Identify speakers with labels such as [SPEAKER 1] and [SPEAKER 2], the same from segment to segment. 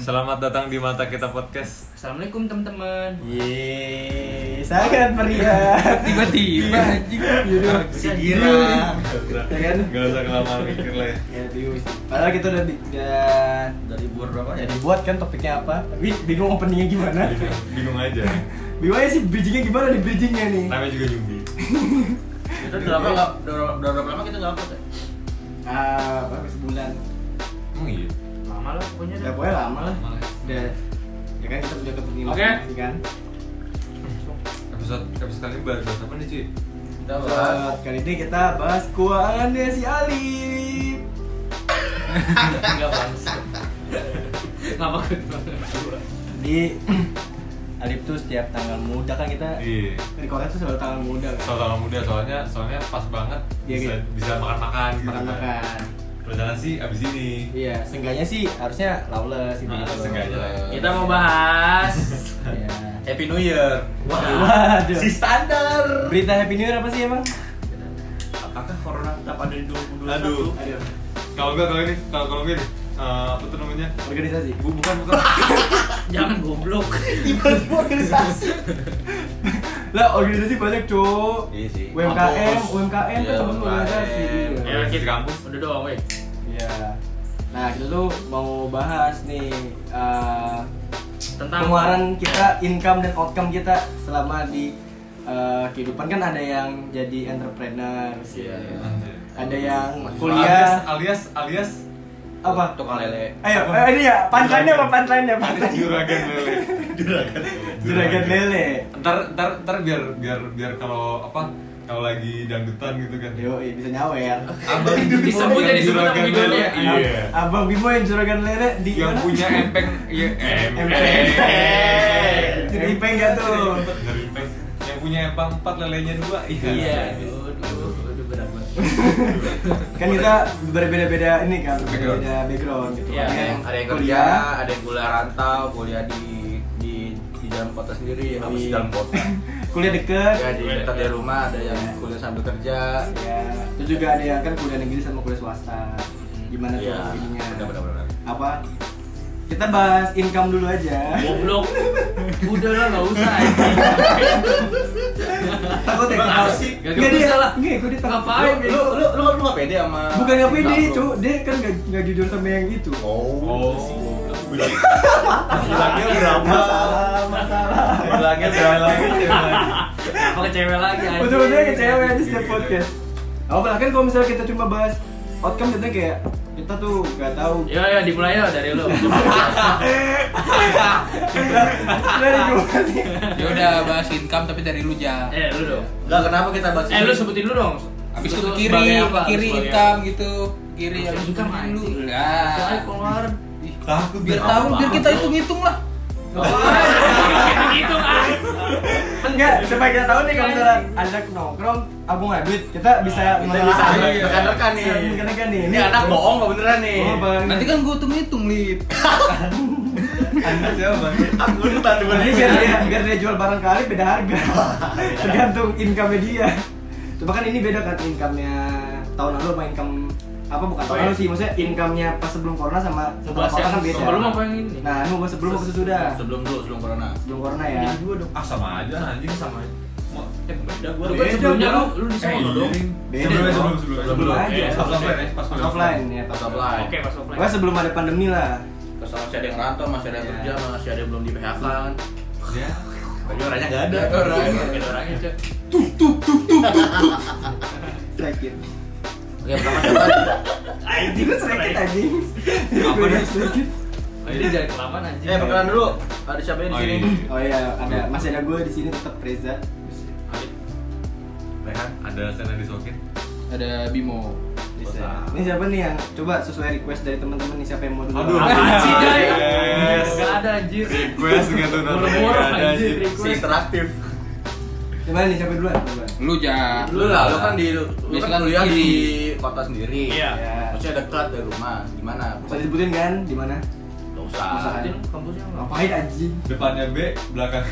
[SPEAKER 1] Selamat datang di Mata Kita Podcast.
[SPEAKER 2] Assalamualaikum teman-teman.
[SPEAKER 3] Yeay, sangat meriah.
[SPEAKER 2] Tiba-tiba anjing. Iya.
[SPEAKER 3] Si Gira. Ya Iya. kan?
[SPEAKER 1] Gak Iya usah kelamaan mikir lah ya.
[SPEAKER 3] Ya, bingung sih. Padahal kita udah udah dari buat berapa ya dibuat kan topiknya apa? Tapi bingung openingnya gimana?
[SPEAKER 1] Bingung- Bingung aja.
[SPEAKER 3] Bingung aja sih bridgingnya gimana di bridgingnya nih?
[SPEAKER 1] Namanya juga nyumbi.
[SPEAKER 4] Kita udah lama nggak udah, udah udah berapa lama kita nggak upload ya?
[SPEAKER 3] Ah, berapa sebulan?
[SPEAKER 1] Emang iya?
[SPEAKER 2] Lama lah pokoknya
[SPEAKER 3] Ya
[SPEAKER 2] dah.
[SPEAKER 3] pokoknya lama lah.
[SPEAKER 1] Lama lah.
[SPEAKER 3] Udah ya kan kita udah ketemu
[SPEAKER 2] Oke.
[SPEAKER 3] sih kan.
[SPEAKER 1] Episode episode kali ini bahas apa nih cuy?
[SPEAKER 4] Kita
[SPEAKER 3] Buat kali ini kita bahas keuangannya si Ali.
[SPEAKER 2] Enggak bagus. Enggak bagus banget.
[SPEAKER 3] Jadi Alip tuh setiap tanggal muda kan kita
[SPEAKER 1] Iya.
[SPEAKER 3] recordnya tuh selalu tanggal muda kan.
[SPEAKER 1] Soal tanggal muda soalnya soalnya pas banget
[SPEAKER 3] Iya,
[SPEAKER 1] bisa
[SPEAKER 3] gitu.
[SPEAKER 1] bisa makan-makan gitu. kan.
[SPEAKER 3] Makan-makan.
[SPEAKER 1] Rencana sih abis ini.
[SPEAKER 3] Iya, seenggaknya sih harusnya lawless gitu.
[SPEAKER 1] Nah, sengaja lah. ya.
[SPEAKER 2] Kita mau bahas
[SPEAKER 3] Iya.
[SPEAKER 4] Happy New Year.
[SPEAKER 3] Waduh.
[SPEAKER 4] Si standar.
[SPEAKER 3] Berita Happy New Year apa sih emang?
[SPEAKER 4] Apakah corona tetap ada di 2021?
[SPEAKER 1] Aduh.
[SPEAKER 3] Aduh,
[SPEAKER 1] Kalau gue kalau ini kalau kalau gue nih eh, apa tuh namanya?
[SPEAKER 3] organisasi.
[SPEAKER 1] Bu, bukan bukan.
[SPEAKER 2] jangan goblok.
[SPEAKER 3] Tiba-tiba organisasi. lah, organisasi banyak, Cuk.
[SPEAKER 4] Iya sih.
[SPEAKER 3] UMKM,
[SPEAKER 4] Kampus.
[SPEAKER 3] UMKM kan
[SPEAKER 4] Iya,
[SPEAKER 3] termasuk organisasi.
[SPEAKER 4] UMKM.
[SPEAKER 3] Iya.
[SPEAKER 1] Ya, kita di kampus.
[SPEAKER 2] Udah doang weh.
[SPEAKER 3] Iya. Nah, kita tuh mau bahas nih eh,
[SPEAKER 2] Tentang
[SPEAKER 3] pengeluaran kita, income dan outcome kita selama di eh, kehidupan kan ada yang jadi entrepreneur sih.
[SPEAKER 4] Iya.
[SPEAKER 1] Anjay.
[SPEAKER 3] Ada yang kuliah
[SPEAKER 1] alias alias
[SPEAKER 3] apa?
[SPEAKER 4] Tukang lele.
[SPEAKER 3] Ayo, eh, ini ya, pantannya apa pantannya?
[SPEAKER 1] alias juragan lele.
[SPEAKER 4] Juragan.
[SPEAKER 3] Juragan lele.
[SPEAKER 1] ntar ntar ntar biar biar biar kalau apa kalau lagi dangdutan gitu kan
[SPEAKER 3] Yo, bisa nyawer.
[SPEAKER 1] abang
[SPEAKER 2] Disebut
[SPEAKER 1] yang
[SPEAKER 2] ya, disebut
[SPEAKER 1] juragan
[SPEAKER 2] sama
[SPEAKER 1] lele,
[SPEAKER 2] judulnya.
[SPEAKER 1] iya
[SPEAKER 3] Abang Bimo yang juragan lele di
[SPEAKER 1] yang
[SPEAKER 3] mana?
[SPEAKER 1] punya empeng iya em-
[SPEAKER 3] Empeng.
[SPEAKER 1] empeng.
[SPEAKER 3] Jadi peng gak tuh?
[SPEAKER 1] Dari empeng. yang punya empang empat lelenya dua iya
[SPEAKER 2] Iya, aduh, aduh, aduh berat banget.
[SPEAKER 3] Kan kita berbeda-beda ini kan,
[SPEAKER 1] Background.
[SPEAKER 3] berbeda background gitu.
[SPEAKER 2] Iya,
[SPEAKER 3] Ada yang
[SPEAKER 4] Ada yang kerja,
[SPEAKER 3] kuliah,
[SPEAKER 4] ada yang kuliah rantau, kuliah di di di dalam kota sendiri,
[SPEAKER 3] Iya.
[SPEAKER 4] apa sih dalam kota?
[SPEAKER 3] kuliah deket.
[SPEAKER 4] Ya di dekat dari rumah ada yang
[SPEAKER 3] Iya.
[SPEAKER 4] kuliah sambil kerja.
[SPEAKER 3] Ya, itu juga ada yang kan kuliah negeri sama kuliah swasta. Gimana tuh
[SPEAKER 4] Iya,
[SPEAKER 3] ininya?
[SPEAKER 4] benar-benar.
[SPEAKER 3] Apa? Kita bahas income dulu aja.
[SPEAKER 2] Goblok. Udah lah enggak usah. anjing.
[SPEAKER 3] Takut ya?
[SPEAKER 4] Bang, apa sih?
[SPEAKER 3] Nggak,
[SPEAKER 2] Gak
[SPEAKER 3] dia.
[SPEAKER 2] salah.
[SPEAKER 3] Nggak, gue dia takut.
[SPEAKER 2] Ngapain?
[SPEAKER 4] Lu lu lu kan lu nggak pede sama?
[SPEAKER 3] Bukan apa dia,
[SPEAKER 4] Enggak, lu.
[SPEAKER 3] cu. Dia kan nggak nggak jujur sama yang itu.
[SPEAKER 4] Oh.
[SPEAKER 1] oh bilang
[SPEAKER 4] Bilangnya berapa?
[SPEAKER 3] Masalah, masalah.
[SPEAKER 4] Bilangnya berapa?
[SPEAKER 2] Apa ke cewek lagi anjing?
[SPEAKER 3] Ujung-ujungnya ke cewek di setiap podcast. Aku bahkan kalau misalnya kita cuma bahas outcome jadinya kayak kita tuh gak tahu.
[SPEAKER 2] Yo yo dimulai yo dari lu.
[SPEAKER 3] Dari gua nih.
[SPEAKER 5] Ya udah bahas income tapi dari lu ja.
[SPEAKER 2] Eh lu dong.
[SPEAKER 4] Enggak kenapa kita bahas
[SPEAKER 2] Eh
[SPEAKER 4] ini?
[SPEAKER 2] lu sebutin lu dong.
[SPEAKER 5] Abis itu
[SPEAKER 2] Lu
[SPEAKER 5] ke kiri,
[SPEAKER 2] sebagai apa?
[SPEAKER 5] ke kiri
[SPEAKER 2] Sebagai
[SPEAKER 5] income gitu, kiri
[SPEAKER 2] Kiri
[SPEAKER 5] abis itu
[SPEAKER 2] income
[SPEAKER 5] kiri
[SPEAKER 2] dulu.
[SPEAKER 5] dulu.
[SPEAKER 4] Nah.
[SPEAKER 2] Soalnya
[SPEAKER 5] Lah.
[SPEAKER 2] keluaran.
[SPEAKER 1] takut
[SPEAKER 5] Biar
[SPEAKER 1] biar
[SPEAKER 5] tahu,
[SPEAKER 4] apa?
[SPEAKER 5] biar kita hitung-hitung lah.
[SPEAKER 2] Gitu
[SPEAKER 3] Enggak, supaya kita tahu nih kalau misalnya ajak nongkrong, abang nggak duit, kita bisa
[SPEAKER 4] Kita bisa
[SPEAKER 3] menelaah.
[SPEAKER 4] rekan-rekan nih.
[SPEAKER 3] Rekan-rekan nih.
[SPEAKER 4] Ini anak bohong apa beneran nih?
[SPEAKER 3] Oh, bang.
[SPEAKER 5] Nanti kan gua hitung-hitung nih.
[SPEAKER 1] anda siapa
[SPEAKER 4] Aku ini tanda
[SPEAKER 3] Ini biar dia, biar dia jual barang kali beda harga. Tergantung income dia. Coba kan ini beda kan income-nya tahun lalu sama income apa bukan tahun
[SPEAKER 2] Oh, iya.
[SPEAKER 3] lalu sih maksudnya income-nya pas sebelum corona sama setelah
[SPEAKER 2] Bahas
[SPEAKER 3] corona
[SPEAKER 2] yang
[SPEAKER 3] kan beda.
[SPEAKER 2] sebelum apa yang ini?
[SPEAKER 3] Nah, ini mau bahas sebelum apa sesudah?
[SPEAKER 4] Sebelum dulu, sebelum corona.
[SPEAKER 3] Sebelum corona ya.
[SPEAKER 1] ah sama aja anjing sama aja Mau-
[SPEAKER 2] Eh, beda gua.
[SPEAKER 3] Lu
[SPEAKER 2] Lu kan
[SPEAKER 3] beda,
[SPEAKER 2] sebelumnya
[SPEAKER 3] gua.
[SPEAKER 2] lu lu di
[SPEAKER 1] Eh,
[SPEAKER 2] sono
[SPEAKER 1] iya.
[SPEAKER 2] dong.
[SPEAKER 3] Beda
[SPEAKER 1] sebelum
[SPEAKER 3] dong.
[SPEAKER 1] sebelum sebelum
[SPEAKER 3] Sebelum
[SPEAKER 1] sebelum
[SPEAKER 3] aja.
[SPEAKER 1] Eh, pas offline ya pas
[SPEAKER 3] Pas
[SPEAKER 1] kuliah
[SPEAKER 3] offline ya, pas
[SPEAKER 4] Pas
[SPEAKER 3] offline.
[SPEAKER 4] offline.
[SPEAKER 2] Oke, pas offline.
[SPEAKER 3] Pokoknya sebelum ada pandemi lah.
[SPEAKER 4] Terus masih ada yang rantau, masih ada yang
[SPEAKER 3] Iya.
[SPEAKER 4] kerja, masih ada yang belum di PHK kan.
[SPEAKER 6] Iya.
[SPEAKER 1] ya
[SPEAKER 4] Baju orangnya enggak ada.
[SPEAKER 5] Nggak ada orang.
[SPEAKER 2] Beda orangnya, Cek.
[SPEAKER 3] Sakit.
[SPEAKER 4] Oke, pertama siapa?
[SPEAKER 3] Anjing lu sakit anjing.
[SPEAKER 1] Apa
[SPEAKER 3] Gua
[SPEAKER 1] nih?
[SPEAKER 3] sakit.
[SPEAKER 2] Ini jangan kelamaan anjing.
[SPEAKER 4] Eh, perkenalan dulu. Ada siapa yang di
[SPEAKER 1] Oh,
[SPEAKER 4] sini?
[SPEAKER 1] iya.
[SPEAKER 3] Oh iya, ada masih ada gue di sini tetap Reza.
[SPEAKER 6] Iya kan?
[SPEAKER 1] Rehan ada sana di soket
[SPEAKER 5] Ada Bimo.
[SPEAKER 3] Bisa. Ini siapa nih yang coba sesuai request dari teman-teman nih siapa yang mau dulu?
[SPEAKER 1] Aduh.
[SPEAKER 2] Apaan sih, Jay?
[SPEAKER 1] Yes.
[SPEAKER 2] Nggak ada anjir.
[SPEAKER 1] request gitu nanti
[SPEAKER 2] Buru-buru,
[SPEAKER 1] nggak ada
[SPEAKER 2] anjir.
[SPEAKER 1] anjing.
[SPEAKER 4] Si interaktif.
[SPEAKER 3] Gimana nih siapa duluan? Duluan.
[SPEAKER 5] Lu ja.
[SPEAKER 4] Lu lah, lu kan di lu
[SPEAKER 5] Biasa
[SPEAKER 4] kan
[SPEAKER 5] kan
[SPEAKER 4] kuliah
[SPEAKER 5] kiri.
[SPEAKER 4] di kota sendiri.
[SPEAKER 2] Iya.
[SPEAKER 3] Ya.
[SPEAKER 4] Maksudnya dekat dari rumah. Gimana?
[SPEAKER 3] Bisa disebutin kan di mana?
[SPEAKER 4] Enggak
[SPEAKER 3] Masa
[SPEAKER 4] usah.
[SPEAKER 3] aja.
[SPEAKER 2] Anjing, kampusnya nggak apa-apa.
[SPEAKER 3] Ngapain anjing?
[SPEAKER 1] depannya B belakang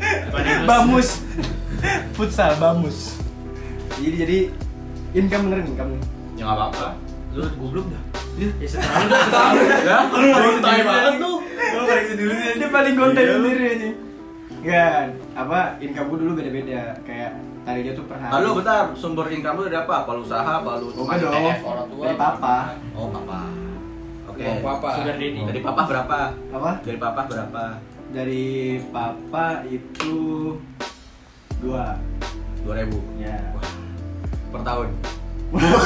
[SPEAKER 2] Daripada
[SPEAKER 3] Bamus. Futsal Bamus. Jadi jadi income bener income nih.
[SPEAKER 4] Ya enggak apa-apa.
[SPEAKER 2] Lu goblok dah.
[SPEAKER 3] Iya.
[SPEAKER 2] Ya setelah lu dah.
[SPEAKER 4] Ya, lu banget.
[SPEAKER 6] diri sih
[SPEAKER 3] dia paling konten
[SPEAKER 4] Iya.
[SPEAKER 3] sendiri aja Enggak, Ya, apa income gue dulu beda-beda kayak tadinya tuh per hari
[SPEAKER 4] Lalu bentar, sumber income lu dari apa? Apa lu usaha, apa lu
[SPEAKER 3] Enggak dong,
[SPEAKER 2] IPF orang tua.
[SPEAKER 3] dari papa
[SPEAKER 4] Oh, papa. Oke.
[SPEAKER 7] Mau apa?
[SPEAKER 2] Sugar daddy.
[SPEAKER 4] Dari papa berapa?
[SPEAKER 3] Apa?
[SPEAKER 4] Dari papa berapa?
[SPEAKER 3] Dari papa itu dua
[SPEAKER 4] 2000.
[SPEAKER 3] Ya
[SPEAKER 4] Wah. Per tahun.
[SPEAKER 3] Waduh,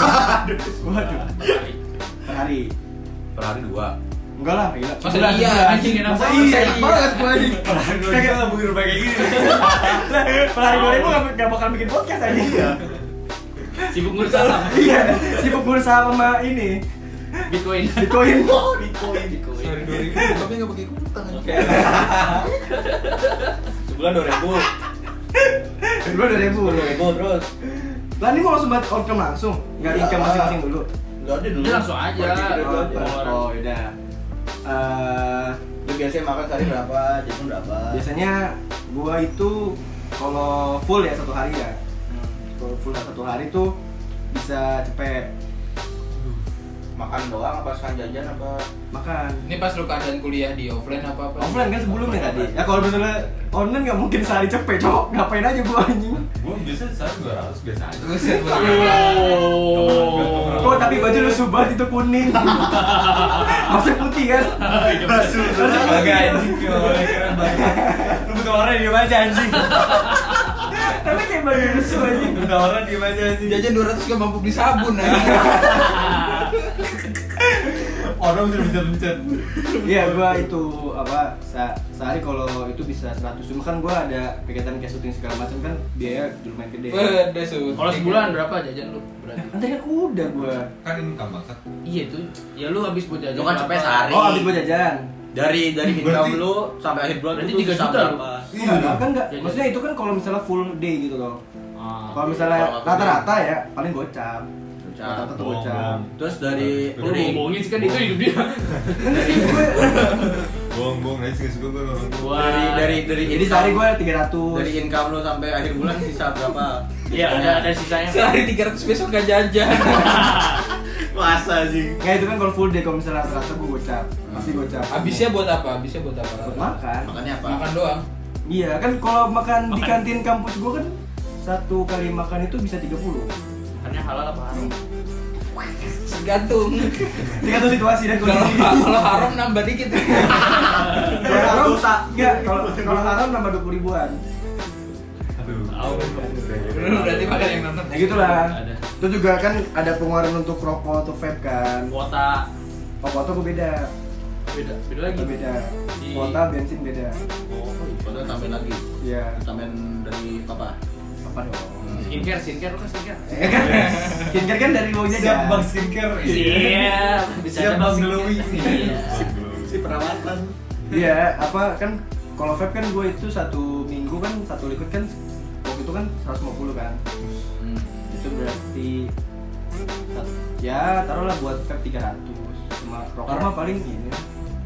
[SPEAKER 3] per hari
[SPEAKER 4] Per hari dua.
[SPEAKER 3] Enggak lah, gila
[SPEAKER 2] Masa
[SPEAKER 3] Sebulan,
[SPEAKER 2] iya,
[SPEAKER 3] sebulan.
[SPEAKER 2] anjing, enak
[SPEAKER 3] Masa
[SPEAKER 2] banget,
[SPEAKER 3] iya,
[SPEAKER 2] enak
[SPEAKER 3] banget gue
[SPEAKER 6] Kita kita lambung rumah kayak gini.
[SPEAKER 3] Per hari 2000 gak, gak bakal bikin podcast aja Iya
[SPEAKER 2] Sibuk ngurus apa?
[SPEAKER 3] Iya, sibuk bursa sama ini
[SPEAKER 2] Bitcoin.
[SPEAKER 3] Bitcoin
[SPEAKER 2] Bitcoin. Bitcoin.
[SPEAKER 6] Sorry, dua ribu.
[SPEAKER 7] Tapi nggak pakai kutang aja.
[SPEAKER 8] Sebulan 2000.
[SPEAKER 3] Dua ribu
[SPEAKER 8] 2000 terus.
[SPEAKER 3] Lah ini mau langsung buat outcome langsung? Nggak
[SPEAKER 8] Iya.
[SPEAKER 3] income masing-masing dulu?
[SPEAKER 8] Enggak ada dulu.
[SPEAKER 2] Dia langsung aja.
[SPEAKER 8] Berarti
[SPEAKER 2] Iya,
[SPEAKER 8] dulu
[SPEAKER 3] Oh,
[SPEAKER 8] aja.
[SPEAKER 2] iya.
[SPEAKER 3] oh udah Eh,
[SPEAKER 8] Lu biasanya makan sehari berapa? Jajan berapa?
[SPEAKER 3] Biasanya gua itu kalau full ya satu hari ya Kalau full ya satu hari tuh bisa cepet
[SPEAKER 8] Makan doang apa sekalian jajan apa?
[SPEAKER 3] makan
[SPEAKER 7] Ini pas lu keadaan kuliah di offline apa apa?
[SPEAKER 3] Offline kan sebelumnya tadi Ya kalau misalnya online nggak mungkin sehari cepet cok Ngapain aja gua anjing
[SPEAKER 6] Gue biasa sehari dua ratus biasa aja.
[SPEAKER 7] Terus ya, gua-
[SPEAKER 6] Oh.
[SPEAKER 3] Kok tapi baju lu subat itu kuning Masih putih kan?
[SPEAKER 6] Masuk sebagai anjing coy. Keren banget. Lu butuh orang dia aja anjing.
[SPEAKER 3] tapi kayak baju lu subat anjing
[SPEAKER 6] Lu butuh orang dia aja anjing.
[SPEAKER 7] Jajan 200 gak mampu beli sabun nah.
[SPEAKER 6] Orang bisa mencet-mencet.
[SPEAKER 3] Iya, gua itu apa se- sehari kalau itu bisa 100 cuma kan gua ada kegiatan kayak syuting segala macam kan biaya lumayan gede.
[SPEAKER 7] Pedes tuh.
[SPEAKER 2] Kalau sebulan berapa jajan lu? Berarti.
[SPEAKER 3] Nanti kan udah gua.
[SPEAKER 6] Kan income banget.
[SPEAKER 2] Iya itu. Ya lu habis buat jajan.
[SPEAKER 4] Lu kan
[SPEAKER 2] berapa?
[SPEAKER 4] cepet sehari.
[SPEAKER 3] Oh, habis gua jajan.
[SPEAKER 4] Dari dari income
[SPEAKER 6] Berarti-
[SPEAKER 4] lu sampai akhir bulan
[SPEAKER 2] berarti
[SPEAKER 4] itu
[SPEAKER 2] tiga
[SPEAKER 4] bisa
[SPEAKER 2] juta lu.
[SPEAKER 4] berapa?
[SPEAKER 6] Iya,
[SPEAKER 3] Enggak, kan enggak.
[SPEAKER 2] Jajan.
[SPEAKER 3] Maksudnya itu kan kalau misalnya full day gitu loh.
[SPEAKER 2] Ah.
[SPEAKER 3] Kalau misalnya
[SPEAKER 4] Kalau full
[SPEAKER 3] rata-rata ya paling gocap.
[SPEAKER 4] Gocap.
[SPEAKER 3] Rata-rata tuh
[SPEAKER 6] Bohong,
[SPEAKER 3] gocap.
[SPEAKER 6] bohong.
[SPEAKER 4] Terus dari
[SPEAKER 6] Lu
[SPEAKER 2] Lu
[SPEAKER 4] dari
[SPEAKER 2] ngomongin sih kan itu hidup dia.
[SPEAKER 3] Enggak sih gue.
[SPEAKER 6] Bohong, bohong. Nanti sih gue ngomong.
[SPEAKER 2] Wah.
[SPEAKER 4] dari dari dari
[SPEAKER 3] Jadi sehari gua 300.
[SPEAKER 4] dari income lu sampai akhir bulan bisa berapa?
[SPEAKER 2] Iya ada ada sisanya.
[SPEAKER 7] Sehari 300 besok gak jajan.
[SPEAKER 4] Masa sih.
[SPEAKER 3] Enggak itu kan kalau full day kalau misalnya rata-rata gua gocap. Pasti gocap.
[SPEAKER 7] Habisnya buat apa? Habisnya buat apa?
[SPEAKER 3] buat makan.
[SPEAKER 4] Makanya apa?
[SPEAKER 7] Makan doang.
[SPEAKER 3] Iya kan kalau makan di
[SPEAKER 2] Makan.
[SPEAKER 3] kantin kampus gua kan satu kali makan itu bisa 30
[SPEAKER 2] Makannya halal apa haram?
[SPEAKER 7] Tergantung.
[SPEAKER 3] Tergantung situasi dan
[SPEAKER 7] Kalau
[SPEAKER 3] kondisi.
[SPEAKER 7] kalau haram nambah dikit.
[SPEAKER 3] Kalau haram enggak, kalau kalau haram nambah 20 ribuan.
[SPEAKER 6] Aduh.
[SPEAKER 7] Berarti makan yang nonton.
[SPEAKER 3] Ya gitulah.
[SPEAKER 2] Ada.
[SPEAKER 3] Itu juga kan ada pengeluaran untuk rokok atau vape kan.
[SPEAKER 2] Kuota
[SPEAKER 3] Rokok tuh beda,
[SPEAKER 2] beda beda lagi.
[SPEAKER 3] beda.
[SPEAKER 2] Di-
[SPEAKER 3] Kuota bensin beda.
[SPEAKER 4] Foto tambahin lagi.
[SPEAKER 3] Iya,
[SPEAKER 4] Tambahin dari papa.
[SPEAKER 3] apa dong?
[SPEAKER 2] Skincare skincare lu kan skincare.
[SPEAKER 3] Eh, kan? Skincare kan dari bawahnya
[SPEAKER 6] Siap
[SPEAKER 3] aja.
[SPEAKER 6] bang skincare.
[SPEAKER 2] Iya. Bisa
[SPEAKER 6] Siap
[SPEAKER 2] ada
[SPEAKER 6] bang
[SPEAKER 2] skincare.
[SPEAKER 6] glowing.
[SPEAKER 2] Iya.
[SPEAKER 4] Si perawatan.
[SPEAKER 3] Iya, apa kan kalau vape kan gue itu satu minggu kan satu liquid kan waktu itu kan 150 kan.
[SPEAKER 8] Hmm.
[SPEAKER 3] itu berarti ya taruhlah buat vape 300 cuma rokok mah paling gini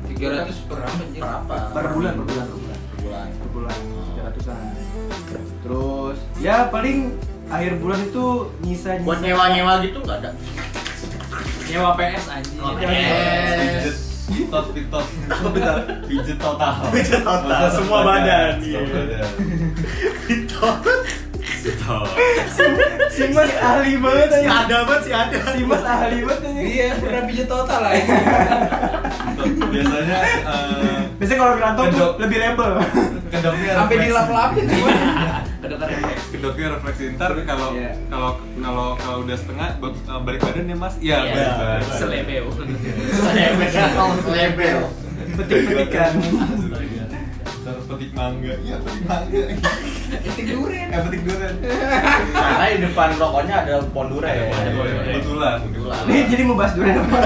[SPEAKER 7] 300 per apa anjir?
[SPEAKER 4] Berapa?
[SPEAKER 3] per bulan per bulan per bulan
[SPEAKER 4] Per bulan.
[SPEAKER 3] per bulan 300 an terus ya paling akhir bulan itu nyisa nyisa
[SPEAKER 4] Buat nyewa-nyewa gitu nggak ada.
[SPEAKER 2] Nyewa PS anjing. Iya.
[SPEAKER 4] Nyewa
[SPEAKER 6] Pijet. Tot pitot. Pijet total.
[SPEAKER 4] Pijet total.
[SPEAKER 6] Masa
[SPEAKER 4] Semua badan.
[SPEAKER 6] Semua
[SPEAKER 4] Iya.
[SPEAKER 6] badan.
[SPEAKER 4] Itu.
[SPEAKER 6] Pitot.
[SPEAKER 3] si mas ahli banget
[SPEAKER 4] Si
[SPEAKER 3] aja
[SPEAKER 4] ada banget si ada.
[SPEAKER 3] si mas ahli banget aja
[SPEAKER 7] Iya, pernah pijat total lah.
[SPEAKER 6] Pitot. Biasanya eh,
[SPEAKER 3] biasanya kalau kerantau tuh
[SPEAKER 6] Kedok.
[SPEAKER 3] lebih rebel
[SPEAKER 6] kedoknya
[SPEAKER 7] Sampai
[SPEAKER 2] Iya.
[SPEAKER 6] refleksi.
[SPEAKER 7] dilap-lapin.
[SPEAKER 2] Kedengeran.
[SPEAKER 6] kedoknya refleksi ntar kalau
[SPEAKER 3] Iya.
[SPEAKER 6] kalau kalau kalau udah setengah bak- eh, balik badan ya mas iya
[SPEAKER 2] Iya.
[SPEAKER 6] balik badan
[SPEAKER 2] Selebeo. Selebeo.
[SPEAKER 4] Lebel.
[SPEAKER 3] petik petikan
[SPEAKER 6] ntar petik mangga iya petik mangga
[SPEAKER 7] Itu durian.
[SPEAKER 6] eh petik durian
[SPEAKER 8] Karena di depan rokoknya ada pohon durian.
[SPEAKER 6] Iya,
[SPEAKER 2] ada boleh.
[SPEAKER 6] kebetulan
[SPEAKER 4] ya, Kebetulan.
[SPEAKER 3] nih jadi mau bahas durian apa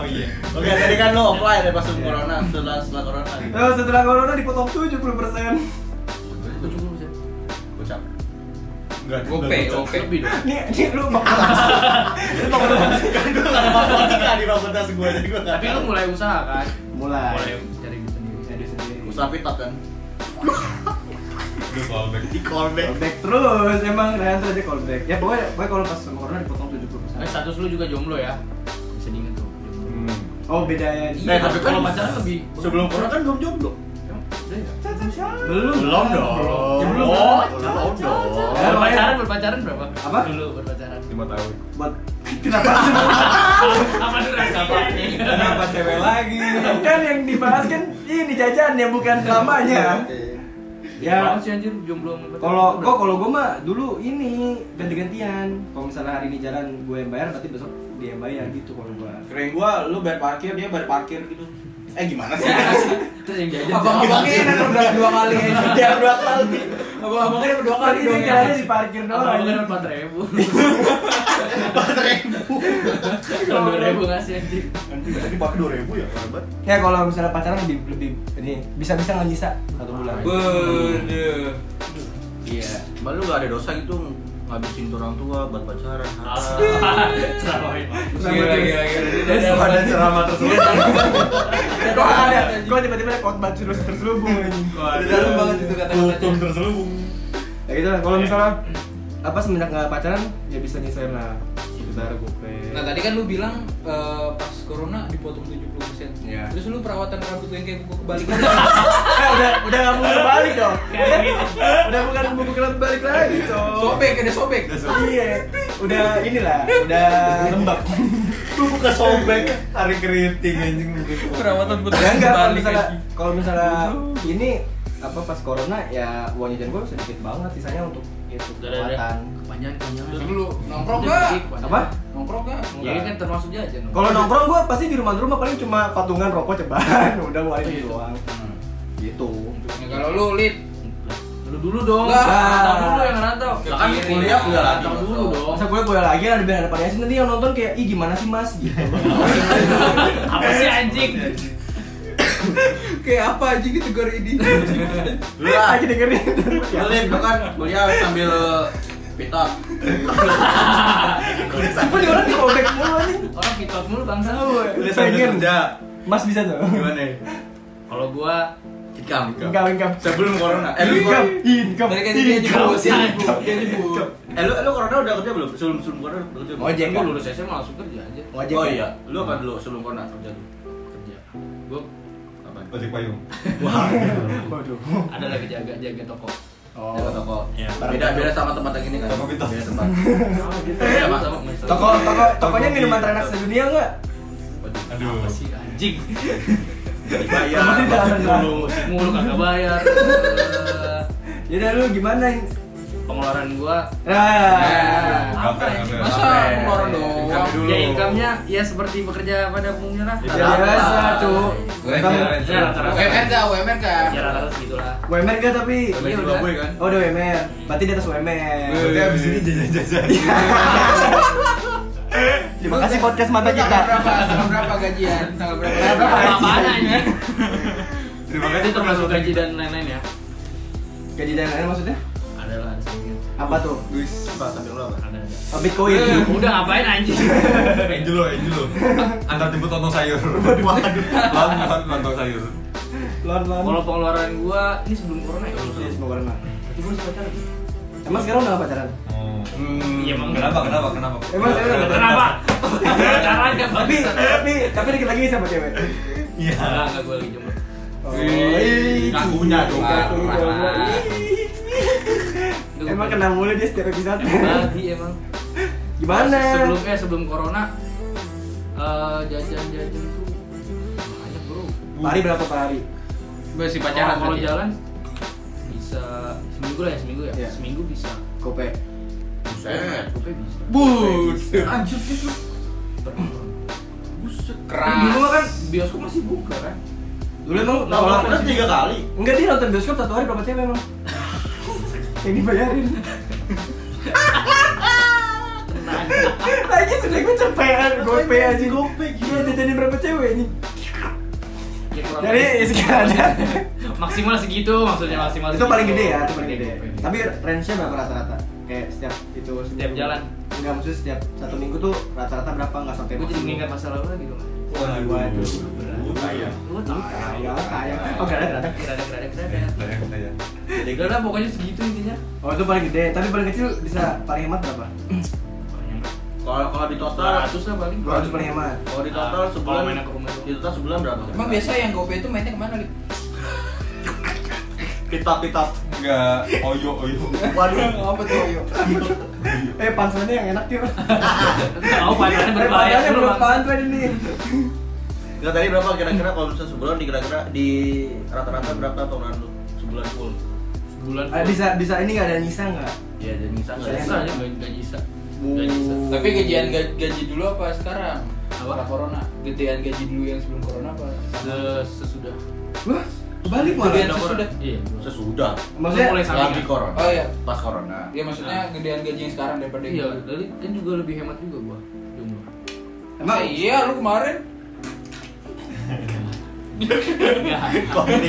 [SPEAKER 6] oh iya
[SPEAKER 4] Oke, tadi kan lo offline ya pas sebelum corona, setelah setelah corona.
[SPEAKER 3] Terus setelah corona dipotong 70
[SPEAKER 4] Ucap.
[SPEAKER 6] Enggak,
[SPEAKER 7] OP, OP.
[SPEAKER 2] Lebih dong.
[SPEAKER 3] nih, nih lu bakal
[SPEAKER 4] Gue nggak ada matematika di fakultas gue, jadi gue nggak
[SPEAKER 2] Tapi lu mulai usaha kan? Mulai
[SPEAKER 3] mulai
[SPEAKER 2] cari duit sendiri.
[SPEAKER 3] Jadi sendiri.
[SPEAKER 4] Usaha pitot kan?
[SPEAKER 6] Udah callback.
[SPEAKER 4] Di callback.
[SPEAKER 3] Callback terus, emang Rehan tuh aja callback Ya
[SPEAKER 2] Eh,
[SPEAKER 3] pokoknya, pokoknya kalau pas sama corona dipotong 70
[SPEAKER 2] Nah, status lu juga jomblo ya? Bisa diinget tuh. jomblo.
[SPEAKER 6] Hmm.
[SPEAKER 3] Oh beda ya.
[SPEAKER 6] Nah, tapi kalau
[SPEAKER 2] pacaran lebih
[SPEAKER 6] Sebelum corona kan belum jomblo.
[SPEAKER 3] Belum.
[SPEAKER 6] Belum dong.
[SPEAKER 3] Ya, belum.
[SPEAKER 6] Oh, belum dong.
[SPEAKER 3] Ya,
[SPEAKER 2] berpacaran berpacaran berapa?
[SPEAKER 3] Apa?
[SPEAKER 2] Dulu berpacaran.
[SPEAKER 4] lima tahun
[SPEAKER 3] Buat kenapa
[SPEAKER 2] Apa duran apa?
[SPEAKER 4] kenapa cewek lagi
[SPEAKER 3] kan yang dibahas kan ini jajan ya bukan
[SPEAKER 8] Iya.
[SPEAKER 3] lamanya.
[SPEAKER 2] Ya,
[SPEAKER 3] Ya
[SPEAKER 2] sih anjir jomblo sama pacaran.
[SPEAKER 3] kalau gua kalau gua mah dulu ini ganti-gantian. Kalau misalnya hari ini jalan gue yang bayar berarti besok dia yang bayar gitu kalau gua.
[SPEAKER 8] Keren gua lu bayar parkir, dia bayar parkir gitu. Eh gimana sih?
[SPEAKER 2] terus yang jajan
[SPEAKER 7] Abang-abangnya enak udah dua kali aja.
[SPEAKER 8] Dia dua kali.
[SPEAKER 7] Abang-abangnya udah dua kali
[SPEAKER 3] Kali
[SPEAKER 7] dong
[SPEAKER 3] ini
[SPEAKER 7] ya.
[SPEAKER 3] jalannya di parkir
[SPEAKER 2] Abang kan
[SPEAKER 3] doang.
[SPEAKER 2] empat ribu,
[SPEAKER 8] Baterai.
[SPEAKER 2] dua ribu ngasih anjing.
[SPEAKER 8] Nanti tadi pakai 2000 ya, hebat.
[SPEAKER 3] Ya kalau misalnya pacaran lebih lebih ini bisa-bisa nggak nyisa satu bulan.
[SPEAKER 7] Waduh.
[SPEAKER 4] iya Mbak lu gak ada dosa gitu ngabisin orang tua buat pacaran
[SPEAKER 2] Ah. Ceramahin.
[SPEAKER 7] Gila, gila, gila. Dia dari awal
[SPEAKER 6] Iya, Ada ceramah tersulit.
[SPEAKER 3] Kok ada? Kok tiba-tiba ada khotbah terus terselubung anjing.
[SPEAKER 7] Di dalam banget itu kata-katanya.
[SPEAKER 6] terselubung.
[SPEAKER 3] Ya gitu lah, kalau misalnya apa semenjak nggak pacaran ya bisa nyisain lah Gitu, sekitar gope.
[SPEAKER 7] Nah tadi kan lu bilang eh, pas corona dipotong 70%
[SPEAKER 4] Iya.
[SPEAKER 7] Terus lu perawatan rambut yang kayak buku kebalikan
[SPEAKER 3] Eh, udah udah nggak mau balik dong. udah bukan buku kelas balik lagi cowok.
[SPEAKER 7] Sobek, ada sobek
[SPEAKER 3] Iya, udah inilah, udah lembab.
[SPEAKER 6] Lu buka sobek hari keriting anjing begitu.
[SPEAKER 7] Perawatan rambut
[SPEAKER 3] Ya enggak kalau
[SPEAKER 7] kebalik
[SPEAKER 3] misalnya kalau misalnya ini apa pas corona ya uang jajan gue sedikit banget sisanya untuk itu
[SPEAKER 7] ya?
[SPEAKER 3] kekuatan.
[SPEAKER 2] Kepanjangan, kepanjangan.
[SPEAKER 7] Terus lu nongkrong
[SPEAKER 2] Jadi,
[SPEAKER 7] gak?
[SPEAKER 2] kepanjangan.
[SPEAKER 3] Apa?
[SPEAKER 7] Nongkrong gak?
[SPEAKER 2] Ya ini kan termasuk jajan. dong.
[SPEAKER 3] Kalau nongkrong gue pasti di rumah rumah paling cuma patungan rokok ceban, udah ngeluarin
[SPEAKER 7] Oh, iya.
[SPEAKER 3] itu doang.
[SPEAKER 7] Hmm.
[SPEAKER 3] Gitu.
[SPEAKER 7] Ya kalau lu lid
[SPEAKER 2] Dulu dulu dong.
[SPEAKER 7] Lah.
[SPEAKER 2] Rantau dulu yang rantau.
[SPEAKER 4] Lah kan kuliah udah lagi,
[SPEAKER 2] Rantau dulu
[SPEAKER 4] Mas.
[SPEAKER 2] dong.
[SPEAKER 3] Masa gue gue lagi ada bilang ada variasi nanti yang nonton kayak ih gimana sih mas gitu.
[SPEAKER 2] Iya. Apa sih anjing?
[SPEAKER 7] Kayak apa aja gitu gore ini
[SPEAKER 3] Lu aja dengerin. Ya,
[SPEAKER 4] Lip, lu kan kuliah sambil pita
[SPEAKER 3] Cuma di orang di callback mulu anjing.
[SPEAKER 2] Orang pitot mulu bangsa.
[SPEAKER 7] Iya.
[SPEAKER 6] Udah sambil
[SPEAKER 3] Pengen.
[SPEAKER 6] kerja.
[SPEAKER 3] Mas bisa tuh.
[SPEAKER 6] Gimana ya?
[SPEAKER 2] Kalau gua
[SPEAKER 4] tikam
[SPEAKER 3] Income, income.
[SPEAKER 6] Sebelum corona.
[SPEAKER 4] eh lu
[SPEAKER 3] Income,
[SPEAKER 4] kor-
[SPEAKER 3] income.
[SPEAKER 7] Tadi kan dia nyebut, dia nyebut, dia nyebut
[SPEAKER 4] eh lu lu corona udah kerja belum sebelum sebelum corona udah kerja belum
[SPEAKER 3] Ngojek,
[SPEAKER 4] Lu
[SPEAKER 3] kan?
[SPEAKER 4] lulus
[SPEAKER 2] SMA langsung kerja aja.
[SPEAKER 3] Ngojek,
[SPEAKER 4] oh
[SPEAKER 3] kan?
[SPEAKER 4] iya lu apa dulu sebelum corona kerja dulu
[SPEAKER 2] Kerja. Gua
[SPEAKER 4] apa
[SPEAKER 6] Ojek payung.
[SPEAKER 3] Waduh.
[SPEAKER 2] ada lagi jaga jaga toko.
[SPEAKER 4] Jaga toko
[SPEAKER 6] Iya.
[SPEAKER 4] beda beda sama tempat yang ini kan
[SPEAKER 6] Sama pita.
[SPEAKER 4] beda tempat
[SPEAKER 2] Sama sama.
[SPEAKER 3] Toko toko tokonya minuman terenak sedunia enggak?
[SPEAKER 6] Aduh.
[SPEAKER 2] Apa sih anjing?
[SPEAKER 4] dibayar
[SPEAKER 3] Masih di dalam, Bang.
[SPEAKER 4] dulu
[SPEAKER 2] Musik mulu kagak bayar. Eh,
[SPEAKER 3] Yaudah Ya lu gimana?
[SPEAKER 2] Pengeluaran gua
[SPEAKER 3] Nah,
[SPEAKER 2] apa
[SPEAKER 6] Ngapain,
[SPEAKER 2] ya?
[SPEAKER 6] ngapain.
[SPEAKER 7] Masa ngeluarin doang
[SPEAKER 4] Income dulu.
[SPEAKER 2] Ya income-nya ya seperti bekerja pada umumnya lah.
[SPEAKER 3] ya biasa cuy.
[SPEAKER 4] Gua-
[SPEAKER 2] Ya rata-rata.
[SPEAKER 7] UMR gak? UMR gak?
[SPEAKER 2] Ya rata-rata segitulah.
[SPEAKER 3] WMR gak tapi?
[SPEAKER 2] Iya,
[SPEAKER 4] Sama
[SPEAKER 2] udah.
[SPEAKER 4] gue kan
[SPEAKER 3] Oh udah WMR, berarti di atas WMR
[SPEAKER 6] Berarti abis ini jajan-jajan.
[SPEAKER 3] Terima kasih podcast mata kita
[SPEAKER 7] Tanggal berapa? Tanggal berapa gajian? Tanggal berapa?
[SPEAKER 2] Apa-apaan anjing?
[SPEAKER 6] Terima
[SPEAKER 2] Itu
[SPEAKER 6] kasih
[SPEAKER 2] termasuk gaji dan lain-lain ya?
[SPEAKER 3] Gaji dan lain maksudnya?
[SPEAKER 2] Adalah ada sambil.
[SPEAKER 3] Apa tuh?
[SPEAKER 6] Guys,
[SPEAKER 4] apa sambil lu apa
[SPEAKER 2] Ada ada.
[SPEAKER 3] Oh, Bitcoin
[SPEAKER 2] Eh, Udah ngapain anjing?
[SPEAKER 6] angel lo, angel lo. Antar jemput lontong sayur. Waduh, lontong lontong sayur.
[SPEAKER 3] Lon lon
[SPEAKER 2] Kalau pengeluaran gua ini sebelum corona ya.
[SPEAKER 3] Iya, semua corona
[SPEAKER 2] Berarti gua masih pacaran.
[SPEAKER 3] Emang sekarang udah gak pacaran?
[SPEAKER 6] Oh.
[SPEAKER 2] Iya, emang.
[SPEAKER 6] Kenapa? Kenapa? Kenapa?
[SPEAKER 3] Emang
[SPEAKER 2] Iya,
[SPEAKER 3] sekarang udah pacaran?
[SPEAKER 2] Kenapa? Pacaran kan
[SPEAKER 3] Tapi,
[SPEAKER 2] bagus.
[SPEAKER 3] tapi, tapi dikit lagi sama cewek
[SPEAKER 6] Iya.
[SPEAKER 2] Enggak, enggak gua lagi jomblo.
[SPEAKER 3] Oh,
[SPEAKER 4] Wih,
[SPEAKER 3] ih,
[SPEAKER 4] ngakunya
[SPEAKER 3] ngaku,
[SPEAKER 4] dong.
[SPEAKER 2] Parah.
[SPEAKER 3] ngaku.
[SPEAKER 2] Itu gua
[SPEAKER 3] Emang
[SPEAKER 2] pacaran.
[SPEAKER 3] kena mulu dia setiap episode
[SPEAKER 2] Bagi emang.
[SPEAKER 3] Gimana?
[SPEAKER 2] Sebelumnya sebelum corona eh, jajan-jajan tuh banyak bro.
[SPEAKER 3] Pari berapa pari?
[SPEAKER 7] Gue sih
[SPEAKER 2] Pacaran
[SPEAKER 7] pacaran
[SPEAKER 2] kalau
[SPEAKER 3] ya?
[SPEAKER 7] tadi.
[SPEAKER 2] jalan bisa seminggu lah ya seminggu ya.
[SPEAKER 3] Iya.
[SPEAKER 2] Seminggu bisa.
[SPEAKER 3] Kope
[SPEAKER 4] Buset.
[SPEAKER 2] Kopi bisa.
[SPEAKER 7] Bus
[SPEAKER 4] anjir sih lu
[SPEAKER 7] Buset
[SPEAKER 2] Tapi
[SPEAKER 7] Keras
[SPEAKER 2] Dulu kan bioskop masih buka kan.
[SPEAKER 3] Dulu emang
[SPEAKER 2] Nah,
[SPEAKER 4] nongkrong
[SPEAKER 3] nolak
[SPEAKER 4] terus tiga kali
[SPEAKER 3] Enggak dia nonton bioskop satu hari berapa cewek emang? Yang dibayarin
[SPEAKER 2] Nah,
[SPEAKER 3] Lagi sudah gue capean, gope aja gope Gila jajanin berapa cewek ini
[SPEAKER 2] Ya, kurang
[SPEAKER 3] Jadi ya
[SPEAKER 2] lebih.
[SPEAKER 3] sekarang
[SPEAKER 2] maksimal segitu maksudnya maksimal.
[SPEAKER 3] Itu
[SPEAKER 2] segitu.
[SPEAKER 3] paling gede ya, itu paling gede
[SPEAKER 2] Kopi.
[SPEAKER 3] Tapi range-nya berapa rata-rata? Kayak setiap itu
[SPEAKER 2] Setiap jalan.
[SPEAKER 3] Enggak maksudnya setiap satu minggu tuh rata-rata berapa nggak sampai
[SPEAKER 2] Gue jadi
[SPEAKER 3] maksimum.
[SPEAKER 2] mengingat masa lalu lagi dong.
[SPEAKER 3] Waduh, waduh.
[SPEAKER 6] Waduh, Sayang.
[SPEAKER 2] Lu tahu.
[SPEAKER 3] Kaya, kaya. Oh, gak ada, gak ada.
[SPEAKER 2] Gerada gerada gerada.
[SPEAKER 6] Sayang, sayang.
[SPEAKER 2] Jadi gerada pokoknya segitu intinya.
[SPEAKER 3] Oh, itu paling gede. Tapi paling kecil bisa paling hemat berapa?
[SPEAKER 2] Banyak.
[SPEAKER 4] Kalau kalau di total
[SPEAKER 2] 200 lah paling
[SPEAKER 3] 200 paling hemat.
[SPEAKER 4] kalau di total
[SPEAKER 2] Ah,
[SPEAKER 4] sebulan
[SPEAKER 2] kalau mainnya ke rumah itu.
[SPEAKER 4] di total sebulan berapa?
[SPEAKER 7] Emang biasa yang GoPay itu mainnya kemana, Lip?
[SPEAKER 4] Pitap pitap.
[SPEAKER 6] Enggak, oyo oyo.
[SPEAKER 7] Waduh, apa tuh, yo?
[SPEAKER 3] Eh panselnya yang enak yuk.
[SPEAKER 2] Tahu pacarnya berbahaya
[SPEAKER 3] Panselnya
[SPEAKER 2] dulu,
[SPEAKER 3] belum
[SPEAKER 2] Bang.
[SPEAKER 3] pantren ini.
[SPEAKER 4] Enggak tadi berapa kira-kira kalau misalnya sebulan di kira-kira di rata-rata berapa tahunan lu sebulan full?
[SPEAKER 2] Sebulan. Iya,
[SPEAKER 3] Eh, Bisa bisa ini nggak ada nisa nggak?
[SPEAKER 4] Ya dan bisa nggak
[SPEAKER 2] Susah aja gaji gaji bisa.
[SPEAKER 4] Bu.
[SPEAKER 2] Gaji bisa.
[SPEAKER 7] Tapi gajian ga- gaji dulu apa sekarang?
[SPEAKER 2] Apa?
[SPEAKER 7] Apa corona? Gedean gaji dulu yang sebelum corona apa?
[SPEAKER 2] Se- Sesudah.
[SPEAKER 3] Wah kebalik malah.
[SPEAKER 7] Gedean sesudah.
[SPEAKER 2] Iya.
[SPEAKER 4] Sesudah.
[SPEAKER 3] Maksudnya
[SPEAKER 2] mulai
[SPEAKER 4] Lagi
[SPEAKER 2] sampingan.
[SPEAKER 4] corona.
[SPEAKER 7] Oh, iya.
[SPEAKER 4] Pas corona.
[SPEAKER 7] Ya maksudnya gedean gaji yang sekarang daripada yang
[SPEAKER 2] Iya,
[SPEAKER 7] dulu.
[SPEAKER 2] dari kan juga lebih hemat juga gua. Jumlah.
[SPEAKER 7] Emang iya lu kemarin
[SPEAKER 2] Iya.
[SPEAKER 4] Ini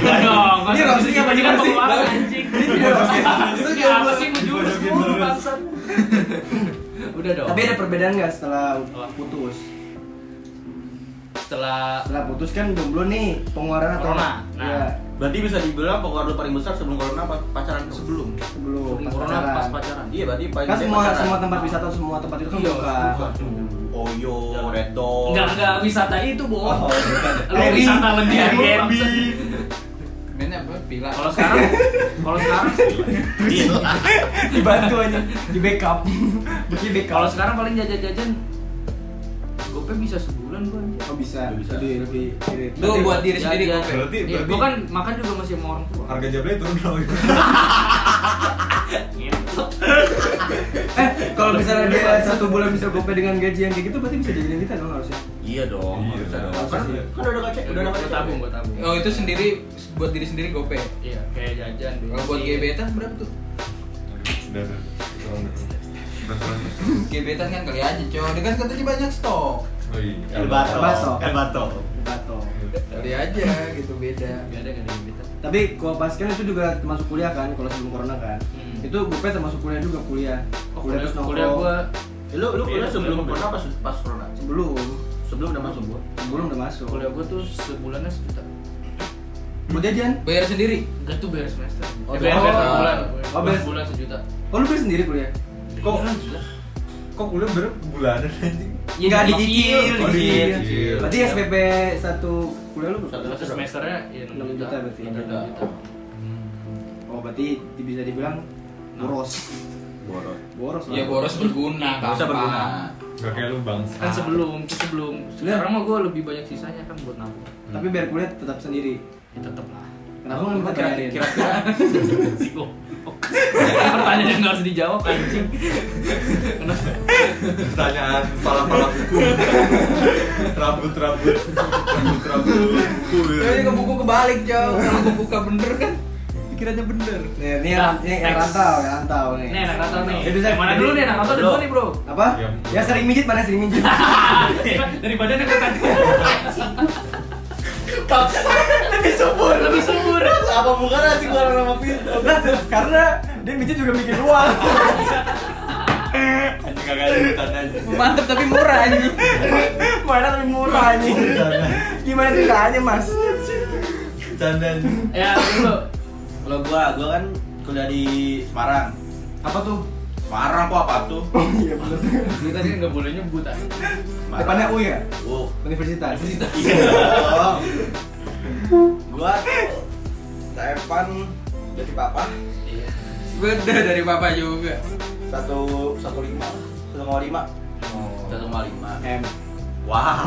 [SPEAKER 3] Ini roastingnya bagaimana sih?
[SPEAKER 2] anjing.
[SPEAKER 3] Ini roasting.
[SPEAKER 2] Itu dia apa sih menjurus
[SPEAKER 6] Dipojokin
[SPEAKER 2] mulu
[SPEAKER 6] terus.
[SPEAKER 2] bangsat. Udah dong.
[SPEAKER 3] Tapi ada perbedaan nggak setelah
[SPEAKER 2] Setelah.
[SPEAKER 3] putus?
[SPEAKER 2] setelah
[SPEAKER 3] Setelah putus kan jomblo nih pengeluaran atau
[SPEAKER 2] Corona. Nah.
[SPEAKER 3] Iya,
[SPEAKER 4] Berarti bisa dibilang pengaruh paling besar sebelum corona apa pacaran sebelum?
[SPEAKER 2] sebelum
[SPEAKER 3] sebelum
[SPEAKER 2] sebelum
[SPEAKER 3] pas
[SPEAKER 2] corona
[SPEAKER 3] pacaran.
[SPEAKER 2] pas pacaran.
[SPEAKER 4] Iya berarti paling
[SPEAKER 3] Kan
[SPEAKER 4] gede
[SPEAKER 3] semua
[SPEAKER 4] pacaran.
[SPEAKER 3] semua tempat wisata semua tempat itu kan
[SPEAKER 2] Iya,
[SPEAKER 3] buka.
[SPEAKER 2] buka.
[SPEAKER 4] Oyo, Red Dog.
[SPEAKER 2] Enggak enggak wisata itu, bohong.
[SPEAKER 6] Oh, bukan.
[SPEAKER 2] Lu wisata mendiang lu, bangsat.
[SPEAKER 7] mainnya apa? Pila.
[SPEAKER 2] Kalau sekarang kalau sekarang
[SPEAKER 7] Iya.
[SPEAKER 3] Dibantu aja, di backup. Bikin
[SPEAKER 2] kalau
[SPEAKER 3] backup.
[SPEAKER 2] sekarang paling jajan-jajan Gopay bisa sebulan gua anjing.
[SPEAKER 3] Oh bisa,
[SPEAKER 4] Bisa.
[SPEAKER 3] lebih lebih- lebih-
[SPEAKER 7] Lu buat diri
[SPEAKER 2] Jajan.
[SPEAKER 7] sendiri kok.
[SPEAKER 6] Berarti-
[SPEAKER 2] Iya,
[SPEAKER 6] berarti-
[SPEAKER 2] gua kan makan juga masih sama orang tua.
[SPEAKER 6] Harga jablay turun dong.
[SPEAKER 2] Iya.
[SPEAKER 3] Eh, kalau misalnya dia satu bulan bisa gope dengan gaji yang kayak gitu berarti bisa jajanin kita dong harusnya.
[SPEAKER 4] Iya dong,
[SPEAKER 6] Iya,
[SPEAKER 4] bisa dong.
[SPEAKER 6] harus
[SPEAKER 4] Kan
[SPEAKER 3] ya.
[SPEAKER 4] kan udah ngecek, udah
[SPEAKER 2] Gua
[SPEAKER 4] ngecek.
[SPEAKER 2] tabung, gua tabung.
[SPEAKER 7] Oh itu sendiri buat diri sendiri GoPay.
[SPEAKER 2] Iya, kayak jajan
[SPEAKER 7] Kalau Oh, buat
[SPEAKER 2] bensin.
[SPEAKER 7] gebetan berapa tuh?
[SPEAKER 6] Udah, udah. Tolong, tolong.
[SPEAKER 7] Gebetan kan kali aja, coy. Dia kan katanya banyak stok.
[SPEAKER 6] Oh, iya.
[SPEAKER 4] El Bato.
[SPEAKER 3] El Bato.
[SPEAKER 4] El Bato. Eh,
[SPEAKER 3] Batok.
[SPEAKER 7] Kali aja gitu beda.
[SPEAKER 2] Gak ada gak ada gebetan.
[SPEAKER 3] Tapi kalau pas kan itu juga termasuk kuliah kan, kalau sebelum corona kan.
[SPEAKER 2] Hmm.
[SPEAKER 3] Itu gope termasuk kuliah juga kuliah.
[SPEAKER 2] Oh, kuliah,
[SPEAKER 3] terus
[SPEAKER 2] kuliah
[SPEAKER 3] nongkrong.
[SPEAKER 2] gua
[SPEAKER 4] Eh, Lu lu kuliah
[SPEAKER 2] Iya,
[SPEAKER 4] sebelum
[SPEAKER 2] iya.
[SPEAKER 4] corona pas pas corona?
[SPEAKER 3] sebelum
[SPEAKER 4] Sebelum udah masuk gua.
[SPEAKER 3] sebelum udah masuk.
[SPEAKER 2] kuliah gua tuh sebulannya sejuta.
[SPEAKER 3] Mau jajan?
[SPEAKER 7] Bayar sendiri.
[SPEAKER 2] Enggak tuh bayar semester.
[SPEAKER 3] Oh,
[SPEAKER 2] Eh, bayar bayar
[SPEAKER 3] oh.
[SPEAKER 2] per bulan. per
[SPEAKER 3] Oh, bayar-
[SPEAKER 2] bulan sejuta.
[SPEAKER 3] Oh, lu beli sendiri kuliah?
[SPEAKER 6] Kok-
[SPEAKER 2] Iya, gila.
[SPEAKER 6] Kok kuliah berapa bulanan anjing?
[SPEAKER 2] Iya,
[SPEAKER 3] Nggak
[SPEAKER 2] dicicil. Iya.
[SPEAKER 3] dicicil,
[SPEAKER 6] Oh,
[SPEAKER 3] dicicil. Iya.
[SPEAKER 6] dicicil.
[SPEAKER 3] Berarti SPP satu kuliah lu berapa?
[SPEAKER 2] Satu semesternya ya 6
[SPEAKER 3] Enam
[SPEAKER 2] juta.
[SPEAKER 3] juta berarti.
[SPEAKER 2] Enam juta.
[SPEAKER 3] Oh, berarti bisa dibilang
[SPEAKER 2] Nah.
[SPEAKER 3] boros.
[SPEAKER 4] Boros.
[SPEAKER 3] Boros lah.
[SPEAKER 7] Ya boros berguna,
[SPEAKER 4] Bisa
[SPEAKER 7] Kakak.
[SPEAKER 4] berguna.
[SPEAKER 6] Gak kayak lu bangsa.
[SPEAKER 2] Kan sebelum sebelum sekarang mah gua lebih banyak sisanya kan buat nabung.
[SPEAKER 3] Tapi biar kuliah tetap sendiri.
[SPEAKER 2] Ya, tetep lah.
[SPEAKER 3] Kenapa nggak minta bayarin?
[SPEAKER 4] Kira-kira
[SPEAKER 2] Si goblok. Pertanyaan yang nggak harus dijawab anjing. Kenapa?
[SPEAKER 6] Pertanyaan pala-pala hukum. Rambut-rambut. Rambut-rambut. hukum.
[SPEAKER 7] Eh, Ini ke buku kebalik, coy. Kalau gua buka bener kan pikirannya bener.
[SPEAKER 3] Nih, ini
[SPEAKER 2] Nah,
[SPEAKER 3] yang, ini yang
[SPEAKER 2] next.
[SPEAKER 3] rantau, yang rantau nih.
[SPEAKER 2] Nih, anak rantau nih.
[SPEAKER 3] Jadi saya-
[SPEAKER 2] Yang mana dulu nih anak rantau Iya. dari
[SPEAKER 4] Dulu.
[SPEAKER 2] mana nih, Bro?
[SPEAKER 3] Apa?
[SPEAKER 6] Ya,
[SPEAKER 3] Ya sering mijit mana sering mijit?
[SPEAKER 2] Dari badannya kelihatan. lebih subur, lebih subur.
[SPEAKER 4] apa muka nasi gua sama pintu.
[SPEAKER 3] Nah, karena dia mijit juga bikin uang.
[SPEAKER 6] Anjing kagak ada hutan aja.
[SPEAKER 7] Mantep tapi murah anjing.
[SPEAKER 3] Mana tapi murah anjing. Gimana ceritanya, Mas?
[SPEAKER 6] Bercanda anjing.
[SPEAKER 2] Ya, dulu.
[SPEAKER 4] Kalau gua, gua kan kuliah di Semarang.
[SPEAKER 3] Apa tuh?
[SPEAKER 4] Semarang kok apa tuh?
[SPEAKER 3] Oh iya benar.
[SPEAKER 2] Kita tadi nggak boleh nyebut ah.
[SPEAKER 4] Semarang.
[SPEAKER 3] Depannya U ya?
[SPEAKER 4] Oh.
[SPEAKER 3] Universitas.
[SPEAKER 4] Iya. Gua tuh Tepan jadi papa
[SPEAKER 2] Iya.
[SPEAKER 7] Beda dari papa juga.
[SPEAKER 4] satu satu lima satu koma lima satu koma lima
[SPEAKER 3] M.
[SPEAKER 4] wah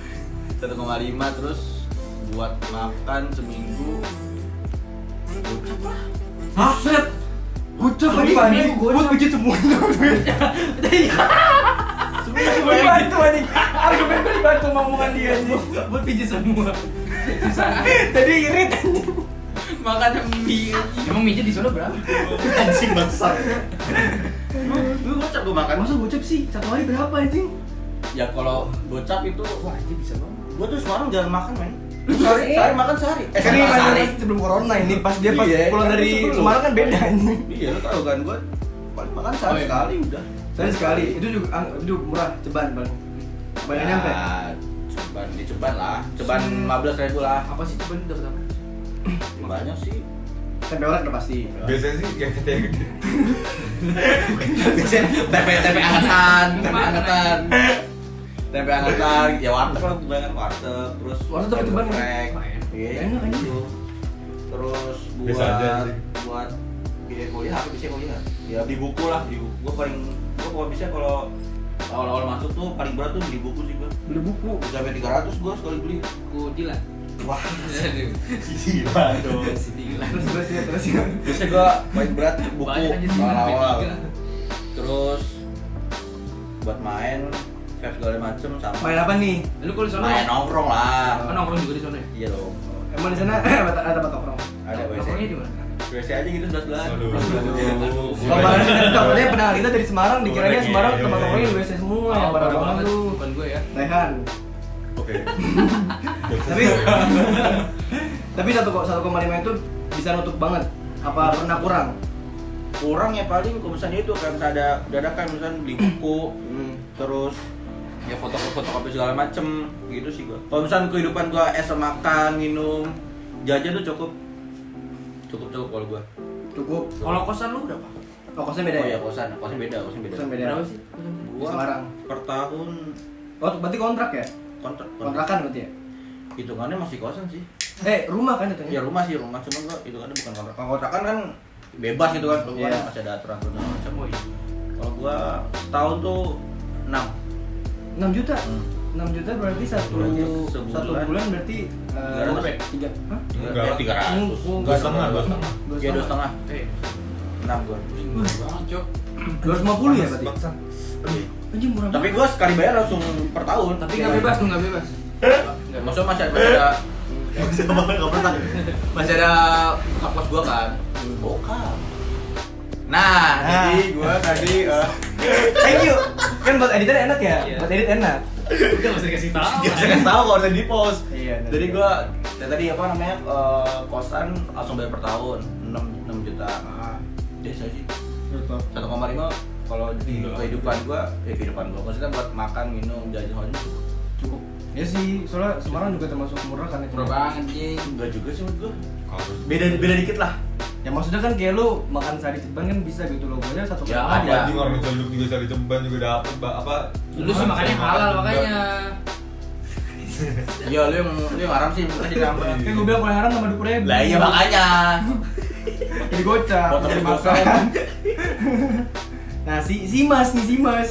[SPEAKER 4] satu koma lima terus buat makan seminggu
[SPEAKER 3] Hah? Bocor lagi
[SPEAKER 2] Ini-
[SPEAKER 3] anjing.
[SPEAKER 2] ini
[SPEAKER 3] Buat mijit semua. Dibantu anjing. Argumen gue dibantu sama omongan dia anjing.
[SPEAKER 2] Buat pijit semua.
[SPEAKER 3] Tadi irit anjing.
[SPEAKER 7] Makannya mie.
[SPEAKER 2] Emang mijit di Solo berapa?
[SPEAKER 4] anjing besar lu gocap gua makan
[SPEAKER 3] Masa gocap sih? Satu hari berapa anjing?
[SPEAKER 4] ya kalau gocap itu wah
[SPEAKER 2] Anjing bisa banget.
[SPEAKER 4] gua tuh sekarang jarang makan men sehari sehari makan sehari eh
[SPEAKER 3] Kan
[SPEAKER 4] sehari
[SPEAKER 3] ini
[SPEAKER 4] sehari
[SPEAKER 3] pas- sebelum corona ini pas dia pas
[SPEAKER 4] Iya,
[SPEAKER 3] pulang
[SPEAKER 4] kan
[SPEAKER 3] dari
[SPEAKER 4] sebelum.
[SPEAKER 3] Semarang kan beda anjing.
[SPEAKER 4] iya lu tau kan gua paling makan
[SPEAKER 2] Oh,
[SPEAKER 4] sehari
[SPEAKER 2] iya.
[SPEAKER 4] sekali udah
[SPEAKER 3] Saya sekali itu juga ang- itu murah ceban bang. Bayarnya nyampe. Hmm.
[SPEAKER 4] Ya, ceban di ceban lah ceban 15 ribu lah
[SPEAKER 2] Apa sih coba ini dapat apa?
[SPEAKER 4] banyak sih
[SPEAKER 3] tempe orek udah pasti
[SPEAKER 1] Biasanya sih kayak kayak
[SPEAKER 4] Biasanya tempe tempe angkatan, tempe angkatan. Tempe angkatan, ya warteg lah kebanyakan warteg, ya? terus
[SPEAKER 3] Warteg itu banget.
[SPEAKER 4] geprek.
[SPEAKER 3] Lumayan.
[SPEAKER 4] Iya,
[SPEAKER 3] Enak aja.
[SPEAKER 4] gitu. Terus
[SPEAKER 1] Biasa
[SPEAKER 4] buat
[SPEAKER 1] aja sih.
[SPEAKER 4] buat biaya kuliah apa bisa kuliah? Ya beli buku lah, beli buku. Gua paling gua kalau bisa kalau awal-awal masuk tuh paling berat tuh beli buku sih gua.
[SPEAKER 3] beli buku
[SPEAKER 4] Bisa sampai 300 gua sekali beli.
[SPEAKER 2] Ku Dila.
[SPEAKER 4] Wah,
[SPEAKER 9] Gila dong.
[SPEAKER 2] Si Dila.
[SPEAKER 3] terus terus ya terus ya
[SPEAKER 4] biasanya gua paling berat buku
[SPEAKER 2] Banyak aja sih,
[SPEAKER 4] awal-awal.
[SPEAKER 2] sampai tiga.
[SPEAKER 4] Terus buat main vape segala macem sama
[SPEAKER 3] main apa nih
[SPEAKER 2] Lu kalau di sana
[SPEAKER 4] main nongkrong
[SPEAKER 2] Oh,
[SPEAKER 4] lah
[SPEAKER 2] nongkrong juga di sana. ya?
[SPEAKER 4] iya dong
[SPEAKER 3] emang di sana ada ada tempat nongkrong
[SPEAKER 4] ada WC
[SPEAKER 2] Nongkrongnya di mana?
[SPEAKER 4] WC aja gitu sebelas belas
[SPEAKER 1] Aduh.
[SPEAKER 3] Kabarnya kita kabarnya pendengar kita dari Semarang dikiranya
[SPEAKER 1] Orek,
[SPEAKER 3] Semarang
[SPEAKER 1] iya,
[SPEAKER 3] tempat
[SPEAKER 1] iya,
[SPEAKER 3] nongkrongnya
[SPEAKER 1] iya.
[SPEAKER 3] WC semua ya pada orang
[SPEAKER 2] Oh, banget.
[SPEAKER 3] tuh
[SPEAKER 2] Bukan gue ya.
[SPEAKER 3] Rehan
[SPEAKER 1] Oke.
[SPEAKER 3] tapi tapi satu kok satu koma lima itu bisa nutup banget apa pernah kurang
[SPEAKER 4] kurang ya paling kalau misalnya itu kan ada dadakan misalnya beli buku terus Hmm. ya foto foto kopi segala macem gitu sih gua kalau misalnya kehidupan gua es sama makan minum jajan tuh cukup cukup cukup kalau gua
[SPEAKER 3] cukup
[SPEAKER 2] Kalau kosan lu berapa?
[SPEAKER 3] oh kosnya beda
[SPEAKER 4] oh
[SPEAKER 3] ya
[SPEAKER 4] ya kosan kosan beda kosan beda
[SPEAKER 3] Kosan beda.
[SPEAKER 2] Berapa sih?
[SPEAKER 4] Gua
[SPEAKER 3] Semarang.
[SPEAKER 4] per tahun
[SPEAKER 3] oh berarti kontrak ya
[SPEAKER 4] kontrak kontrak
[SPEAKER 3] kontrakan berarti ya
[SPEAKER 4] hitungannya masih kosan sih
[SPEAKER 3] eh rumah kan itu
[SPEAKER 4] ya rumah sih rumah cuman gua itu kan bukan kontrak kalau kontrakan kan bebas gitu kan keluar
[SPEAKER 3] Iya.
[SPEAKER 4] masih ada aturan segala macam
[SPEAKER 2] Oh, iya.
[SPEAKER 4] kalau gua setahun tuh enam
[SPEAKER 3] 6 juta
[SPEAKER 4] Hmm.
[SPEAKER 3] 6 juta berarti satu
[SPEAKER 4] Berarti sebulan.
[SPEAKER 3] satu bulan berarti eh,
[SPEAKER 4] 300 ya?
[SPEAKER 3] tiga hah?
[SPEAKER 1] Enggak.
[SPEAKER 4] tiga ratus
[SPEAKER 3] Enggak,
[SPEAKER 1] Dua setengah, dua setengah.
[SPEAKER 3] Dua
[SPEAKER 4] ya dua setengah
[SPEAKER 2] Eh,
[SPEAKER 4] enam gua
[SPEAKER 2] cok.
[SPEAKER 3] 250 ya berarti
[SPEAKER 1] Bangsa.
[SPEAKER 3] anjing murah
[SPEAKER 4] tapi gua sekali bayar langsung per tahun
[SPEAKER 2] Tapi nggak bebas tuh nggak bebas.
[SPEAKER 4] Nggak, maksudnya masih ada masih ada masih ada buka pos gua kan bokap nah jadi gua tadi eh,
[SPEAKER 3] thank you kan buat editor enak ya buat edit enak
[SPEAKER 2] Udah mesti kasih tahu.
[SPEAKER 4] saya kan tahu kalau udah di post
[SPEAKER 3] iya
[SPEAKER 4] Jadi gua ya tadi apa namanya eh, kosan langsung bayar per tahun 6 6 juta.
[SPEAKER 3] Ah,
[SPEAKER 4] Desa sih. 1,5 kalau di kehidupan gua, ya kehidupan gua maksudnya buat makan, minum, jajan hobi
[SPEAKER 3] cukup ya sih soalnya Semarang juga termasuk murah kan itu
[SPEAKER 2] Murah banget, jing.
[SPEAKER 4] Iya, enggak juga sih menurut gua.
[SPEAKER 1] Kalau
[SPEAKER 4] Beda beda dikit lah.
[SPEAKER 3] ya maksudnya kan kayak lu makan sehari ceban kan bisa gitu loh gue aja satu
[SPEAKER 4] Ya,
[SPEAKER 3] kali
[SPEAKER 4] ada.
[SPEAKER 1] anjing orang celuk juga cari ceban juga dapet Mbak. apa?
[SPEAKER 2] Lu sih makannya halal makanya.
[SPEAKER 4] Iya, lu yang lu yang haram sih bukan jadi apa.
[SPEAKER 3] kan gue bilang kalau haram sama dukun ribu
[SPEAKER 4] Lah iya makanya.
[SPEAKER 3] jadi gocap
[SPEAKER 4] Potong
[SPEAKER 3] jadi
[SPEAKER 4] di
[SPEAKER 3] makan nah si si mas nih si mas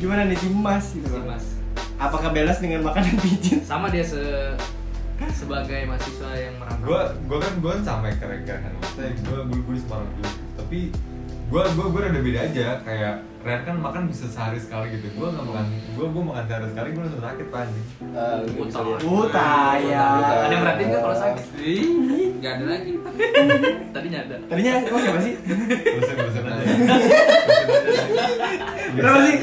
[SPEAKER 3] gimana nih si mas gitu
[SPEAKER 2] Si
[SPEAKER 3] loh.
[SPEAKER 2] Mas.
[SPEAKER 3] apakah belas dengan makanan pijit
[SPEAKER 2] Sama dia se sebagai mahasiswa yang merantau.
[SPEAKER 1] Gua gua kan gua kan sama kayak keren kan. Maksudnya gua bulu bulu Semarang dulu. Tapi gua gua gua rada beda aja kayak Ren kan makan bisa sehari sekali gitu. Gua nggak makan gua gua makan sehari sekali gua langsung sakit Pak, anjing.
[SPEAKER 4] Eh,
[SPEAKER 2] Utang.
[SPEAKER 4] gitu. iya.
[SPEAKER 3] utaya
[SPEAKER 2] Ada yang merhatiin kan kalau sakit? Gak ada lagi. Tadi nyadar.
[SPEAKER 3] tadinya emang siapa sih
[SPEAKER 1] Terusin terusin aja. Terusin aja.
[SPEAKER 3] kenapa sih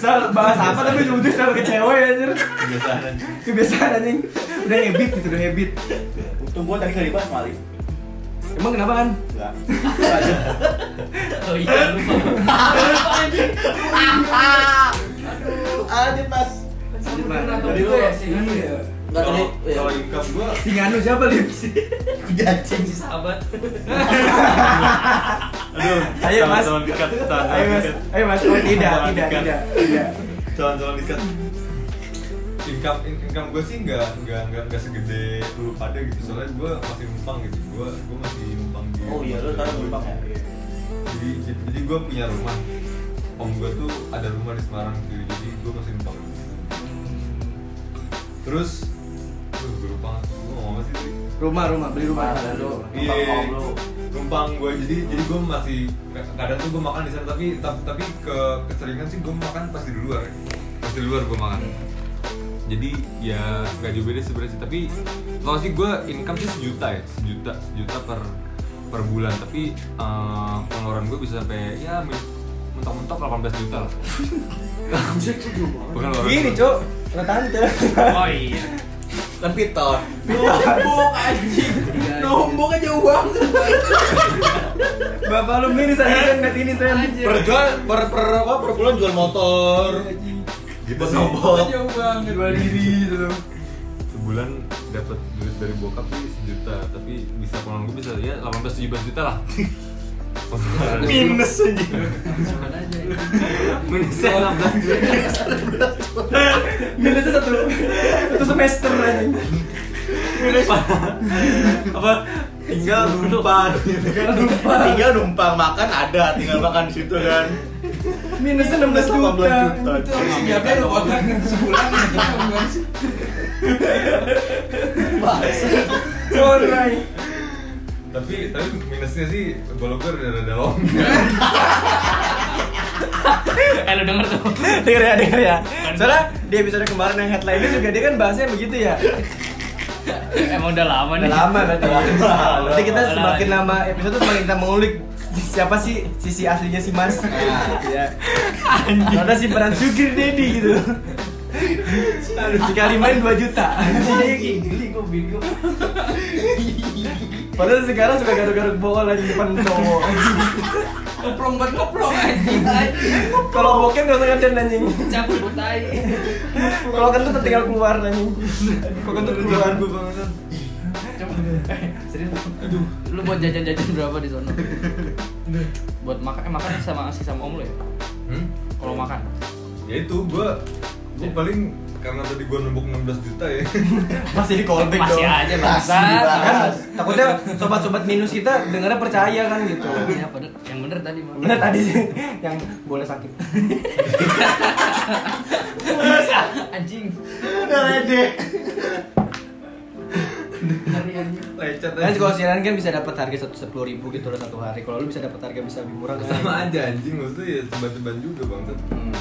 [SPEAKER 3] soal bahas apa tapi lucu soal ke cewek anjir
[SPEAKER 1] Kebiasaan anjing.
[SPEAKER 3] kebiasaan anjing udah habit gitu udah habit
[SPEAKER 4] Untung gua tadi enggak dibahas maling.
[SPEAKER 3] emang kenapa kan
[SPEAKER 4] Enggak.
[SPEAKER 2] Oh iya lupa.
[SPEAKER 4] Ada pas.
[SPEAKER 3] Lanjut, Mas.
[SPEAKER 2] Merantau
[SPEAKER 4] Jadi
[SPEAKER 2] juga
[SPEAKER 4] lu-
[SPEAKER 2] ya sih. kan?
[SPEAKER 3] iya
[SPEAKER 4] Enggak tadi.
[SPEAKER 1] Kalau kalau income gua
[SPEAKER 3] si nganu anu siapa lim
[SPEAKER 4] Jajing.
[SPEAKER 2] Si sahabat.
[SPEAKER 1] aduh.
[SPEAKER 3] Ayo, Mas.
[SPEAKER 1] Calon-calon dikat.
[SPEAKER 3] ayo mas ayo mas oh, tidak tidak tidak tidak
[SPEAKER 1] Calon-calon dikat. Income in- income gue sih nggak nggak nggak nggak segede lu pada gitu soalnya gue masih numpang gitu gue gue masih numpang di
[SPEAKER 4] Oh iya, lu
[SPEAKER 1] rumah
[SPEAKER 4] sekarang
[SPEAKER 1] saudara
[SPEAKER 4] numpang
[SPEAKER 1] gua.
[SPEAKER 4] ya.
[SPEAKER 1] jadi jadi, gue punya rumah om gue tuh ada rumah di Semarang gitu jadi gue masih numpang terus tuh gue lupa gue ngomong apa sih tadi?
[SPEAKER 3] rumah rumah beli rumah
[SPEAKER 4] Rumah, lalu. Numpang
[SPEAKER 1] iya
[SPEAKER 4] om lu.
[SPEAKER 1] numpang gue jadi jadi gue masih kadang tuh gue makan di sana tapi tapi, tapi ke keseringan sih gue makan pasti di luar pasti di luar gue makan jadi ya nggak jauh beda sebenarnya sih tapi kalau sih gue income sih sejuta ya sejuta sejuta per per bulan tapi eh, pengeluaran gue bisa sampai ya men- mentok-mentok 18 juta lah pengeluaran
[SPEAKER 3] gini
[SPEAKER 1] gua.
[SPEAKER 3] cok Nah, tante
[SPEAKER 2] Oh iya.
[SPEAKER 4] Kan Piton.
[SPEAKER 10] Nombok anjing. Nombok aja uang.
[SPEAKER 3] bapak lu miris aja sen net ini sen
[SPEAKER 4] per jual per per apa per bulan jual motor
[SPEAKER 1] gitu
[SPEAKER 4] buat
[SPEAKER 1] sih
[SPEAKER 4] nombok
[SPEAKER 10] Aja uang.
[SPEAKER 3] jual diri gitu
[SPEAKER 1] sebulan dapat duit dari bokap sih sejuta tapi bisa pengeluaran gue bisa ya 18 17 juta lah
[SPEAKER 4] minus aja
[SPEAKER 2] Cuman aja ya.
[SPEAKER 4] minusnya
[SPEAKER 1] Iya.
[SPEAKER 4] 16
[SPEAKER 3] Minusnya satu satu semester aja.
[SPEAKER 4] minus apa tinggal numpang tinggal numpang tinggal numpang makan ada tinggal makan di situ kan
[SPEAKER 3] Minusnya 16 juta.
[SPEAKER 4] 18 juta.
[SPEAKER 7] Itu harus biarkan lu kontrak sebulan ya. Gimana sih?
[SPEAKER 3] Alright.
[SPEAKER 1] tapi tapi minusnya sih bolo gue udah rada long
[SPEAKER 2] Eh lu denger tuh
[SPEAKER 3] denger ya, denger ya. Soalnya di episode kemarin yang headline juga dia kan bahasnya begitu ya.
[SPEAKER 2] Emang udah lama
[SPEAKER 3] Udah
[SPEAKER 2] nih
[SPEAKER 3] lama berarti. Berarti kita
[SPEAKER 2] Udah lama.
[SPEAKER 3] semakin lama episode semakin kita mengulik siapa sih sisi aslinya si Mas. Ya. Ada simpenan sugar daddy gitu. Sekali main 2 juta.
[SPEAKER 4] geli gue bingung
[SPEAKER 3] Padahal sekarang suka garuk-garuk bola di depan cowok.
[SPEAKER 7] Koplong buat koplong anjing. Anjing.
[SPEAKER 3] Kalau bokep gak usah ngeden anjing.
[SPEAKER 2] Cabut butai
[SPEAKER 3] Kalau kentut tinggal keluar anjing. Kalau kentut keluar.
[SPEAKER 2] Coba. Eh, serius. Aduh. Lu buat jajan-jajan berapa di sono? buat makan eh makan sama si sama om lu ya?
[SPEAKER 1] hmm?
[SPEAKER 2] Kalau makan.
[SPEAKER 1] ya itu gue gue
[SPEAKER 3] Ya.
[SPEAKER 1] paling karena tadi gue nembok 16 juta ya
[SPEAKER 3] Masih di callback dong.
[SPEAKER 2] Masih aja bangsa.
[SPEAKER 3] kan takutnya sobat-sobat minus kita dengarnya percaya kan gitu
[SPEAKER 2] Ya, padahal yang bener tadi mah.
[SPEAKER 3] bener tadi sih yang boleh sakit
[SPEAKER 2] Anjing.
[SPEAKER 4] udah lede
[SPEAKER 2] Ngeri anjing.
[SPEAKER 1] lecet
[SPEAKER 3] kan kalau siaran kan bisa dapat harga satu sepuluh ribu gitu loh satu hari kalau lu bisa dapat harga bisa lebih murah kan
[SPEAKER 1] sama aja anjing maksudnya ya ceban-ceban juga bangsat
[SPEAKER 8] Hmm.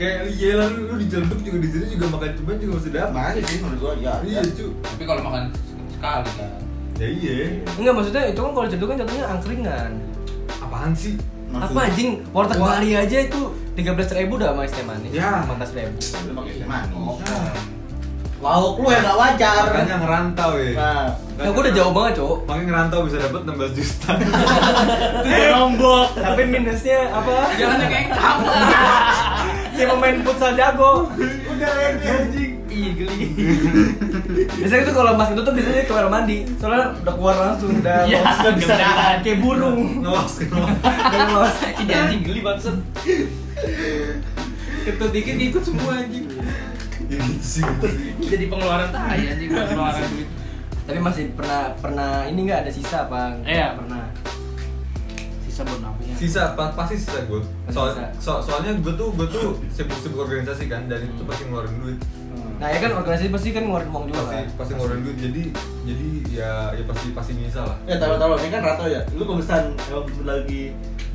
[SPEAKER 1] kayak iya lah lu, lu di Cilebut juga di sini juga makan ceban juga masih dapat
[SPEAKER 8] Makanya Ya, sih menurut gua
[SPEAKER 3] Nah.
[SPEAKER 8] ya.
[SPEAKER 1] iya cu
[SPEAKER 7] Tapi kalau makan sekali kan.
[SPEAKER 1] ya iya
[SPEAKER 3] enggak maksudnya itu kan kalau jadul kan jatuhnya angkringan
[SPEAKER 1] apaan sih
[SPEAKER 3] apa anjing warteg Bali aja itu tiga belas ribu udah sama es teh manis
[SPEAKER 1] Ya.
[SPEAKER 3] empat ribu
[SPEAKER 4] lu pakai teh manis
[SPEAKER 1] Nah,
[SPEAKER 4] lauk lu yang gak wajar
[SPEAKER 1] makanya
[SPEAKER 8] Hmm.
[SPEAKER 1] ngerantau ya
[SPEAKER 4] Nah.
[SPEAKER 3] nah gua udah jauh banget cowok
[SPEAKER 1] makanya ngerantau bisa dapat 16 juta
[SPEAKER 4] itu nombok
[SPEAKER 3] tapi minusnya apa
[SPEAKER 7] Jalannya kayak kamu.
[SPEAKER 3] si pemain futsal jago
[SPEAKER 4] udah lede anjing
[SPEAKER 2] Ih, geli.
[SPEAKER 3] biasanya tuh kalau mas itu tuh biasanya ke kamar mandi soalnya udah keluar langsung udah
[SPEAKER 2] Iya, nggak
[SPEAKER 3] langsung
[SPEAKER 2] bisa ditahan.
[SPEAKER 3] kayak burung
[SPEAKER 1] ngelos ngelos
[SPEAKER 3] udah los
[SPEAKER 2] Ini anjing geli banget.
[SPEAKER 7] Kentut dikit ikut semua anjing.
[SPEAKER 1] ya gitu sih
[SPEAKER 2] Jadi pengeluaran tai anjing pengeluaran duit.
[SPEAKER 3] tapi masih pernah pernah ini nggak ada sisa bang
[SPEAKER 2] Iya.
[SPEAKER 3] pernah
[SPEAKER 2] Sisa buat nabung.
[SPEAKER 1] sisa pa- pasti sisa gue soal,
[SPEAKER 3] Sisa.
[SPEAKER 1] so- soalnya gue tuh gue tuh sibuk sibuk organisasi kan dan
[SPEAKER 8] Hmm.
[SPEAKER 1] itu pasti ngeluarin duit
[SPEAKER 3] nah ya kan organisasi pasti kan ngeluarin uang juga
[SPEAKER 1] pasti
[SPEAKER 3] kan
[SPEAKER 1] pasti ngeluarin duit jadi jadi ya ya pasti pasti nyisa lah
[SPEAKER 8] Ya taruh-taruh, ini kan rata ya. Lu pemesan emang lagi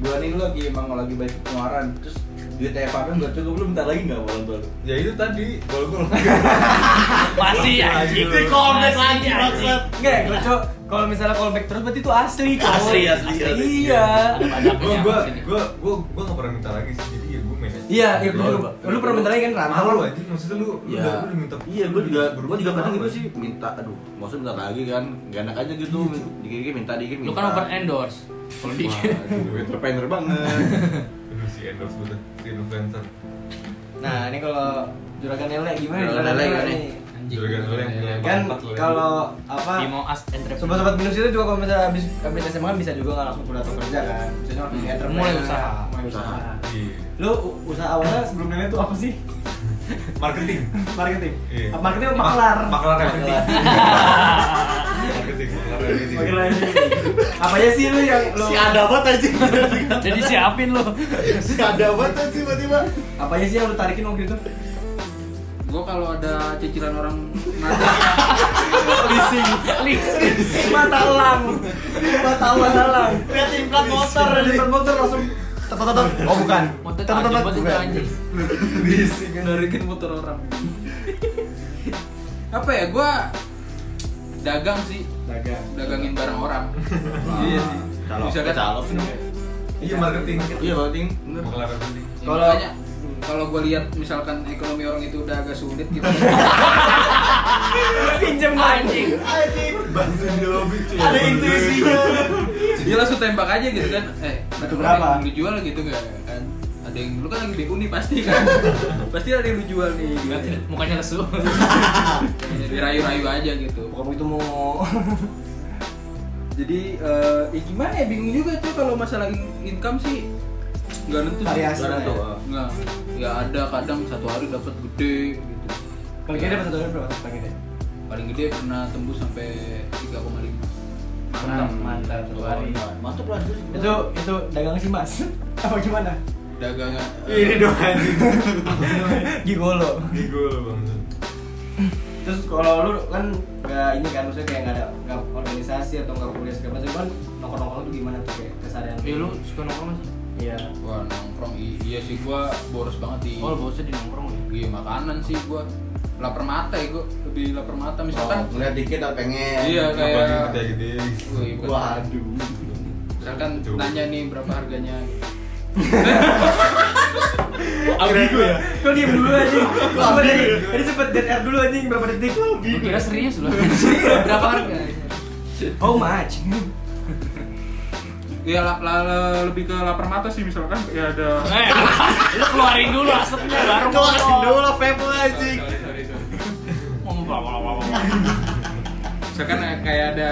[SPEAKER 8] bulan ini lu lagi emang lagi banyak pengeluaran. Terus duit TFA kan buat cukup lu bentar lagi enggak boleh boleh.
[SPEAKER 1] ya itu tadi kalau gue
[SPEAKER 2] Masih
[SPEAKER 1] Iya,
[SPEAKER 2] anjing.
[SPEAKER 4] Di komplek lagi,
[SPEAKER 2] Masih, anjing.
[SPEAKER 4] maksud.
[SPEAKER 3] Enggak ya, kalau cowok- kalau misalnya callback terus berarti itu asli cowok.
[SPEAKER 4] Asli, asli, asli.
[SPEAKER 3] Iya.
[SPEAKER 2] Ada pajaknya
[SPEAKER 1] gue gue
[SPEAKER 2] sini.
[SPEAKER 1] gue gue gue nggak pernah minta lagi sih jadi ya gue manage
[SPEAKER 3] Iya, iya, gua juga. Lu pernah minta lagi kan, Ran?
[SPEAKER 1] malu aja maksudnya lu lu
[SPEAKER 8] Iya.
[SPEAKER 1] udah lu udah minta eh.
[SPEAKER 8] Iya, gua juga
[SPEAKER 1] berubah,
[SPEAKER 8] gua juga kadang
[SPEAKER 1] malu
[SPEAKER 8] gitu
[SPEAKER 1] aja.
[SPEAKER 8] sih minta aduh, maksudnya bentar lagi kan. Gak enak aja gitu dikit-dikit minta dikit minta.
[SPEAKER 2] Lu kan open endorse. Kalau dikit.
[SPEAKER 8] Wah, entrepreneur banget.
[SPEAKER 1] Iya,
[SPEAKER 4] Iya,
[SPEAKER 1] Aduh, si endorse gue tuh, si influencer
[SPEAKER 3] Nah, ini kalau juragan Lele gimana?
[SPEAKER 8] Juragan Lele gimana nih?
[SPEAKER 2] Anjing.
[SPEAKER 1] Juragan lu yang- yang
[SPEAKER 3] Kan
[SPEAKER 1] empat ya. lu yang-
[SPEAKER 3] kalau apa
[SPEAKER 2] Bimo as entrepreneur.
[SPEAKER 3] Sobat-sobat minus itu juga kalau misalnya habis habis SMA kan bisa juga nggak langsung kuliah atau kerja kan. Misalnya orang
[SPEAKER 2] Hmm.
[SPEAKER 3] entrepreneur.
[SPEAKER 2] Mulai usaha.
[SPEAKER 3] Mulai usaha.
[SPEAKER 1] Iya.
[SPEAKER 3] Lu u- usaha awalnya sebelum Lele itu apa sih?
[SPEAKER 1] marketing
[SPEAKER 3] Marketing.
[SPEAKER 1] Iya.
[SPEAKER 3] Apa Marketing apa maklar.
[SPEAKER 1] Ma- maklar ya? Iya. yang penting. marketing maklar yang penting.
[SPEAKER 3] Maklar yang penting. Apa aja sih lu yang lu?
[SPEAKER 4] si ada banget anjing
[SPEAKER 2] Jadi siapin lu.
[SPEAKER 4] si ada banget anjing tiba-tiba
[SPEAKER 3] Apa aja sih yang lu tarikin waktu itu?
[SPEAKER 7] Gua kalau ada cicilan orang nanti
[SPEAKER 2] Leasing. Leasing.
[SPEAKER 3] mata elang mata elang mata elang
[SPEAKER 4] lihat implan motor
[SPEAKER 3] Motor,
[SPEAKER 4] anjing.
[SPEAKER 3] lipat motor langsung tetot tetot oh bukan
[SPEAKER 2] Motor
[SPEAKER 3] Tetot, tetot,
[SPEAKER 2] anjing, motor
[SPEAKER 3] bukan.
[SPEAKER 2] anjing.
[SPEAKER 7] narikin motor orang. Apa ya gua dagang sih,
[SPEAKER 3] dagang
[SPEAKER 7] dagangin barang orang.
[SPEAKER 1] Iya sih.
[SPEAKER 4] kalau
[SPEAKER 7] Bisa kan?
[SPEAKER 4] kalau
[SPEAKER 1] Iya marketing.
[SPEAKER 8] Iya, penting.
[SPEAKER 7] Bener.
[SPEAKER 1] Maklar yang penting.
[SPEAKER 7] Ya,
[SPEAKER 3] Kalau-
[SPEAKER 7] makanya, kalau gue lihat misalkan ekonomi orang itu udah agak sulit gitu.
[SPEAKER 3] pinjam anjing
[SPEAKER 4] anjing
[SPEAKER 1] Bantu di lobby cuy.
[SPEAKER 4] ada intuisinya
[SPEAKER 7] dia langsung tembak aja gitu kan. Eh,
[SPEAKER 3] Itu berapa?
[SPEAKER 7] yang dijual gitu enggak kan? Ada ada yang lu kan lagi BU nih pasti kan pasti ada yang lu jual nih gitu.
[SPEAKER 2] mukanya lesu
[SPEAKER 7] jadi rayu-rayu aja gitu
[SPEAKER 3] kamu itu mau
[SPEAKER 7] jadi eh, ya gimana ya bingung juga tuh kalau masalah in- income sih nggak nentu sih.
[SPEAKER 3] Variasi
[SPEAKER 7] Nggak
[SPEAKER 3] lah
[SPEAKER 7] nentu,
[SPEAKER 3] ya.
[SPEAKER 7] ah. nggak nggak ada kadang satu hari dapat gede gitu
[SPEAKER 3] kalau kita dapat satu berapa paling gede
[SPEAKER 7] paling gede pernah tembus sampai 3,5
[SPEAKER 3] mantap mantap satu hari
[SPEAKER 8] Mantap lah terus.
[SPEAKER 3] itu itu dagang sih mas apa gimana
[SPEAKER 7] dagangan eh,
[SPEAKER 6] Ini dong anjing.
[SPEAKER 3] gigolo
[SPEAKER 1] Gigo lo bang.
[SPEAKER 3] terus kalau lu kan nggak ini kan maksudnya kayak nggak ada nggak organisasi atau nggak kuliah segala macam kan nongkrong nongkrong tuh gimana tuh kayak kesadaran
[SPEAKER 7] Iya,
[SPEAKER 2] ya lu suka nongkrong nggak sih
[SPEAKER 3] iya
[SPEAKER 7] Wah nongkrong i- iya sih gua boros banget di
[SPEAKER 2] oh lu bosnya di nongkrong ya
[SPEAKER 7] Iya makanan sih gua lapar mata ya gua lebih lapar mata
[SPEAKER 2] Oh,
[SPEAKER 4] misalkan
[SPEAKER 7] misalkan
[SPEAKER 4] ngeliat dikit ah pengen
[SPEAKER 7] iya
[SPEAKER 1] Kenapa
[SPEAKER 7] kayak
[SPEAKER 1] kita gede?
[SPEAKER 7] Wih, bukan.
[SPEAKER 4] waduh
[SPEAKER 7] misalkan
[SPEAKER 1] Coba.
[SPEAKER 7] nanya nih berapa harganya
[SPEAKER 4] ambigu ya
[SPEAKER 3] kau diem dulu aja Gua dari tadi sempet dead air dulu anjing berapa detik
[SPEAKER 2] lu kira serius lu berapa harga
[SPEAKER 3] how much
[SPEAKER 7] Iya la- la- la- lebih ke lapar mata sih misalkan ya ada
[SPEAKER 2] eh lu keluarin dulu asapnya baru
[SPEAKER 4] keluarin dulu lah vape lu, anjing
[SPEAKER 7] Sorry, sorry, sorry.
[SPEAKER 2] ngomong apa apa
[SPEAKER 7] misalkan eh, kayak ada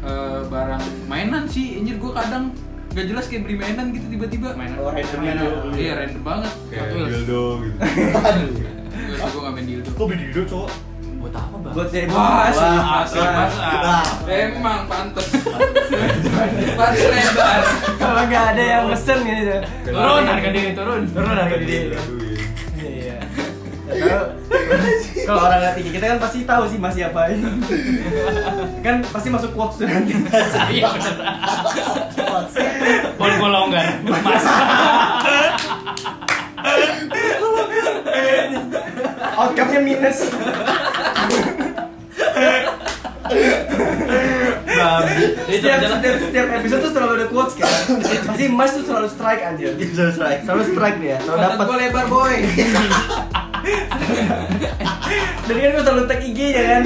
[SPEAKER 7] eh, barang mainan sih anjir gua kadang gak jelas kayak beli mainan gitu tiba-tiba
[SPEAKER 2] mainan
[SPEAKER 8] Oh, random ya.
[SPEAKER 7] iya random banget
[SPEAKER 1] Kayak
[SPEAKER 2] Satu ya.
[SPEAKER 1] dildo gitu.
[SPEAKER 7] Gua sih gua gak main dildo
[SPEAKER 4] kok bini dulu cowok
[SPEAKER 2] buat apa bang
[SPEAKER 3] buat dari
[SPEAKER 7] Wah,
[SPEAKER 3] bos
[SPEAKER 4] Wah,
[SPEAKER 2] asik, Mas.
[SPEAKER 4] nah.
[SPEAKER 7] eh, emang pantes pantes lebar
[SPEAKER 3] kalau nggak ada yang mesen gitu. gini tuh.
[SPEAKER 2] turun harga diri turun
[SPEAKER 3] turun harga diri
[SPEAKER 1] Dildoin.
[SPEAKER 3] iya Kalau- kalau orang nggak tinggi kita kan pasti tahu sih masih apa ini kan pasti masuk quotes tuh nanti
[SPEAKER 2] iya bener pon gua longgar mas
[SPEAKER 3] outcome-nya minus
[SPEAKER 2] itu
[SPEAKER 3] setiap, setiap, setiap episode tuh selalu ada quotes kan pasti mas tuh selalu strike anjir
[SPEAKER 2] Iya,
[SPEAKER 4] Bisa strike.
[SPEAKER 3] selalu strike dia selalu dapat
[SPEAKER 7] gua lebar boy
[SPEAKER 3] dan kan gua selalu tag IG nya kan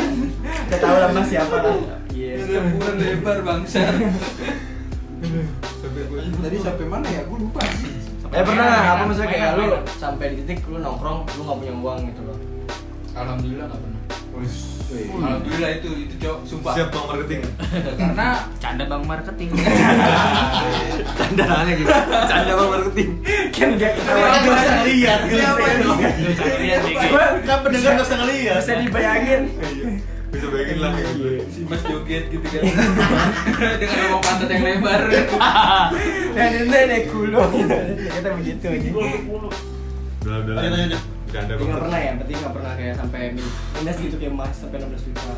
[SPEAKER 3] udah tau lah mas siapa lah iya
[SPEAKER 7] Campuran lebar bangsa.
[SPEAKER 1] Tapi gue
[SPEAKER 7] Tadi sampai mana ya? Gue lupa sih.
[SPEAKER 3] eh pernah nggak apa maksudnya kayak
[SPEAKER 2] Mainan,
[SPEAKER 3] lu
[SPEAKER 2] mainan.
[SPEAKER 3] sampai di titik lu nongkrong lu nggak punya uang gitu loh
[SPEAKER 7] Alhamdulillah nggak pernah.
[SPEAKER 4] Wih.
[SPEAKER 7] Alhamdulillah itu itu cok sumpah.
[SPEAKER 1] siap bang marketing.
[SPEAKER 3] Hmm.
[SPEAKER 7] Karena
[SPEAKER 2] canda bang marketing
[SPEAKER 4] Candaannya gitu. Canda bang marketing.
[SPEAKER 3] kan gak
[SPEAKER 4] Orang
[SPEAKER 3] ketahuan
[SPEAKER 4] nggak bisa ngeliat,
[SPEAKER 3] gitu.
[SPEAKER 4] nggak bisa ngeliat.
[SPEAKER 2] Iya,
[SPEAKER 3] Gua
[SPEAKER 4] Kan pendengar nggak bisa ngeliat.
[SPEAKER 3] gitu. bisa dibayangin
[SPEAKER 1] Iya. Bisa bayangin lah kayak gitu.
[SPEAKER 7] si Mas joget gitu kan. Dengan lubang pantat yang lebar.
[SPEAKER 3] dan ini nenek kulo gitu kita begitu aja
[SPEAKER 1] Udah udah.
[SPEAKER 4] Lanjut, lanjut, lanjut.
[SPEAKER 1] Bercanda
[SPEAKER 3] tapi
[SPEAKER 1] bang.
[SPEAKER 3] nggak pernah ya berarti nggak pernah kayak sampai min- minus gitu kayak mas sampai 16 juta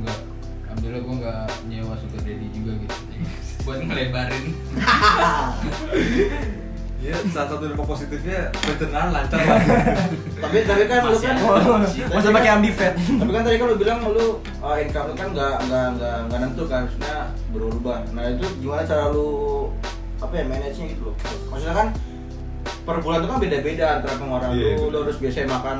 [SPEAKER 7] Enggak. Alhamdulillah gue nggak nyewa sugar daddy juga gitu. Buat ngelebarin.
[SPEAKER 1] Iya, salah satu dampak positifnya pencernaan lancar lah.
[SPEAKER 8] Tapi tapi kan lu kan
[SPEAKER 3] Oh, masa pakai ambivert
[SPEAKER 8] tapi kan tadi kan lu bilang lu uh, income lu kan nggak nggak nggak nggak nentu kan maksudnya berubah nah itu gimana cara lu apa ya manage nya gitu loh maksudnya kan per bulan itu kan beda-beda antara pengeluaran
[SPEAKER 1] Iya,
[SPEAKER 8] lu
[SPEAKER 1] itu.
[SPEAKER 8] lu harus biasanya makan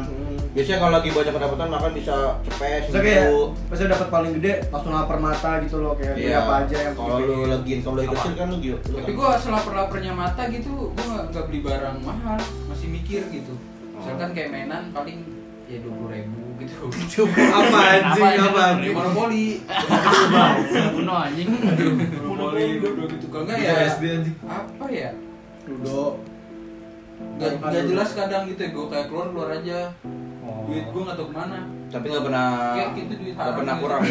[SPEAKER 8] biasanya kalau lagi banyak pendapatan makan bisa cepet
[SPEAKER 3] Terus
[SPEAKER 8] gitu
[SPEAKER 3] kayak pas udah dapat paling gede langsung lapar mata gitu loh kayak beli
[SPEAKER 8] Iya.
[SPEAKER 3] apa aja yang gitu.
[SPEAKER 8] kalau lu lagi income lu lagi kecil kan lu gitu lu
[SPEAKER 7] Tapi
[SPEAKER 8] kan-
[SPEAKER 7] gue selaper-lapernya mata gitu, gue nggak nggak beli barang mahal, masih mikir gitu. Misalkan kayak mainan paling ya dua puluh ribu gitu.
[SPEAKER 4] Apa anjing?
[SPEAKER 2] Apa
[SPEAKER 4] Apa
[SPEAKER 7] Beli
[SPEAKER 4] anjing?
[SPEAKER 7] monopoli.
[SPEAKER 2] kuno anjing
[SPEAKER 7] monopoli dua gitu kalau nggak ya
[SPEAKER 1] Bisa SD anjing.
[SPEAKER 7] apa ya
[SPEAKER 3] ludo
[SPEAKER 7] nggak nggak jelas kadang gitu ya gue kayak keluar keluar aja duit gue nggak tahu kemana
[SPEAKER 8] tapi nggak pernah
[SPEAKER 7] Kayak gitu duit
[SPEAKER 8] nggak
[SPEAKER 7] haram
[SPEAKER 8] pernah
[SPEAKER 7] gitu.
[SPEAKER 8] kurang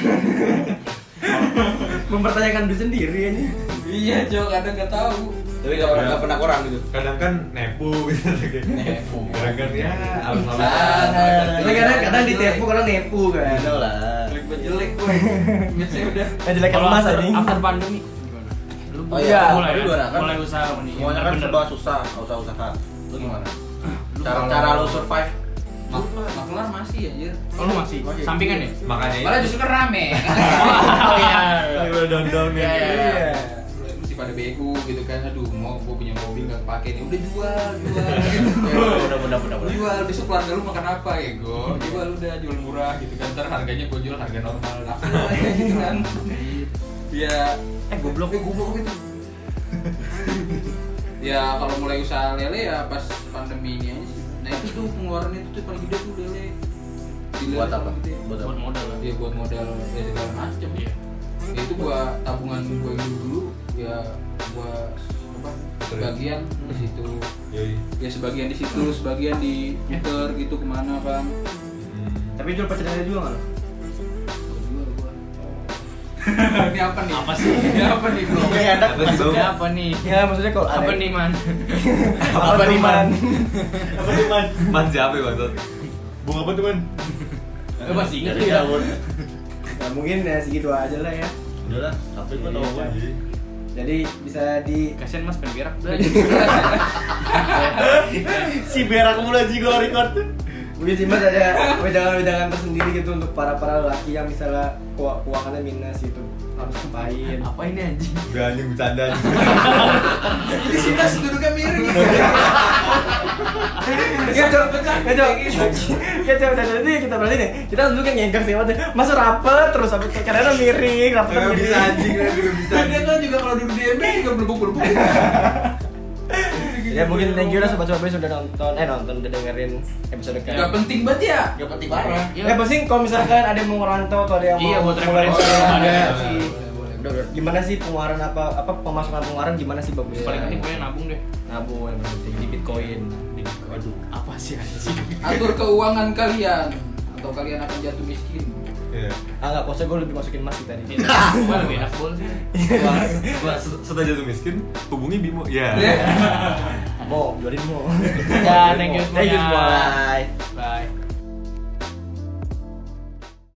[SPEAKER 3] mempertanyakan diri sendiri ini
[SPEAKER 7] iya cok kadang nggak tahu
[SPEAKER 8] tapi nggak pernah nggak pernah kurang gitu
[SPEAKER 1] Kadang kan nepu gitu kayak.
[SPEAKER 7] Nepo.
[SPEAKER 1] Kadang kan
[SPEAKER 3] Iya.
[SPEAKER 1] ya
[SPEAKER 7] Ah,
[SPEAKER 1] alhamdulillah.
[SPEAKER 3] karena kadang kadang ditepu kadang nepu kan
[SPEAKER 4] Tahu lah.
[SPEAKER 7] jelek banget jelek gue biasanya udah
[SPEAKER 3] yang Eh, jelek
[SPEAKER 2] Kalau
[SPEAKER 3] emas
[SPEAKER 2] after-
[SPEAKER 3] anjing
[SPEAKER 2] after pandemi gimana? lu
[SPEAKER 8] Oh
[SPEAKER 2] mulai
[SPEAKER 8] iya,
[SPEAKER 2] mulai,
[SPEAKER 8] tapi gua kan-
[SPEAKER 2] mulai usaha nih
[SPEAKER 8] semuanya kan
[SPEAKER 2] Bener.
[SPEAKER 8] serba susah nggak usah usaha lu gimana
[SPEAKER 7] Lu
[SPEAKER 8] cara
[SPEAKER 7] kalau-
[SPEAKER 8] cara lu survive
[SPEAKER 7] Mak- maklar masih anjir
[SPEAKER 2] Oh, lu masih sampingan ya
[SPEAKER 1] Makanya
[SPEAKER 7] malah justru kan rame
[SPEAKER 2] oh iya
[SPEAKER 1] Udah down down ya.
[SPEAKER 3] iya
[SPEAKER 7] masih pada bego gitu kan aduh mau gue punya mobil nggak pakai nih udah jual jual gitu kan.
[SPEAKER 4] Udah, udah, udah,
[SPEAKER 7] Lu
[SPEAKER 4] udah.
[SPEAKER 7] jual besok keluarga lu makan apa ya go jual udah jual murah gitu kan ntar harganya gua jual harga normal nah, gitu kan ya
[SPEAKER 2] eh goblok
[SPEAKER 7] eh goblok gitu ya kalau mulai usaha lele ya pas pandemi ini aja sih nah itu tuh pengeluaran itu tuh paling gede tuh lele Di lele
[SPEAKER 4] Buat apa?
[SPEAKER 7] paling gede.
[SPEAKER 4] Buat apa?
[SPEAKER 2] buat modal lah.
[SPEAKER 7] ya buat modal ya segala macem ya itu gua tabungan gua yang dulu ya gua apa sebagian
[SPEAKER 4] Hmm.
[SPEAKER 7] di situ
[SPEAKER 1] Yoi.
[SPEAKER 7] ya sebagian di situ sebagian di Twitter gitu kemana bang
[SPEAKER 1] Hmm.
[SPEAKER 3] Tapi jual pecel lele juga nggak lo?
[SPEAKER 7] ini apa nih apa sih ini apa nih bro
[SPEAKER 4] Ini enak
[SPEAKER 1] Apa sih,
[SPEAKER 4] maksudnya
[SPEAKER 1] Bang?
[SPEAKER 2] apa nih
[SPEAKER 3] Ya maksudnya kalau ada
[SPEAKER 2] apa nih man
[SPEAKER 4] Apa nih, Man?
[SPEAKER 1] Apa sih man? Man siapa ya Bang?
[SPEAKER 4] Bunga apa teman?
[SPEAKER 7] Lu masih ingat
[SPEAKER 4] Dari
[SPEAKER 7] ya?
[SPEAKER 4] tahun.
[SPEAKER 3] Nah, mungkin ya segitu aja lah ya.
[SPEAKER 4] Udah lah, apa gua
[SPEAKER 3] Iya,
[SPEAKER 4] tahu
[SPEAKER 3] iya.
[SPEAKER 4] gua.
[SPEAKER 3] Jadi bisa di
[SPEAKER 2] kasian mas pengen berak
[SPEAKER 7] ya?
[SPEAKER 4] Si berak mulu aja gua record.
[SPEAKER 3] mungkin sih mas ada wejangan-wejangan tersendiri gitu untuk para para laki yang misalnya keu- keuangannya minus gitu harus ngapain
[SPEAKER 2] apa ini anjing
[SPEAKER 1] Gak anjing bercanda anjing.
[SPEAKER 7] di sini tas duduknya miring gitu
[SPEAKER 3] Gak Ya, cok, gak cok, gak cok, udah jadi kita berarti nih Kita dulu kan ngengkang sih, waktu masuk rapet terus sampai ke karena miring,
[SPEAKER 2] Ya,
[SPEAKER 3] rapet
[SPEAKER 1] Gak bisa anjing, gak bisa.
[SPEAKER 7] dan kan juga kalau duduk di ember juga berbuk-berbuk
[SPEAKER 3] Ya mungkin thank you lah sobat-sobat Bes udah nonton, eh nonton, udah dengerin episode kali
[SPEAKER 7] Gak penting banget ya
[SPEAKER 4] Gak penting parah.
[SPEAKER 2] Ya.
[SPEAKER 3] Ya pasti kalau misalkan ada yang mau ngerantau atau ada yang
[SPEAKER 2] Iya,
[SPEAKER 3] mau
[SPEAKER 2] buat
[SPEAKER 3] mulai
[SPEAKER 2] referensi.
[SPEAKER 3] usaha,
[SPEAKER 2] Ada.
[SPEAKER 3] ada
[SPEAKER 1] Boleh,
[SPEAKER 3] sih. Gimana sih pengeluaran apa apa pemasukan pengeluaran gimana sih bagusnya?
[SPEAKER 2] paling penting pokoknya nabung deh
[SPEAKER 3] nabung yang penting di Bitcoin. Aduh, apa sih anjing?
[SPEAKER 7] atur keuangan kalian atau kalian akan jatuh miskin
[SPEAKER 1] Iya.
[SPEAKER 3] Ah enggak, kosnya gue lebih masukin Mas sih tadi.
[SPEAKER 2] Iya. gue lebih enak bol sih
[SPEAKER 1] Setelah- Setelah jatuh miskin, hubungi Bimo. Ya.
[SPEAKER 3] Mau, jualin mau.
[SPEAKER 2] ya thank you
[SPEAKER 3] Thank
[SPEAKER 2] semuanya
[SPEAKER 3] you semua.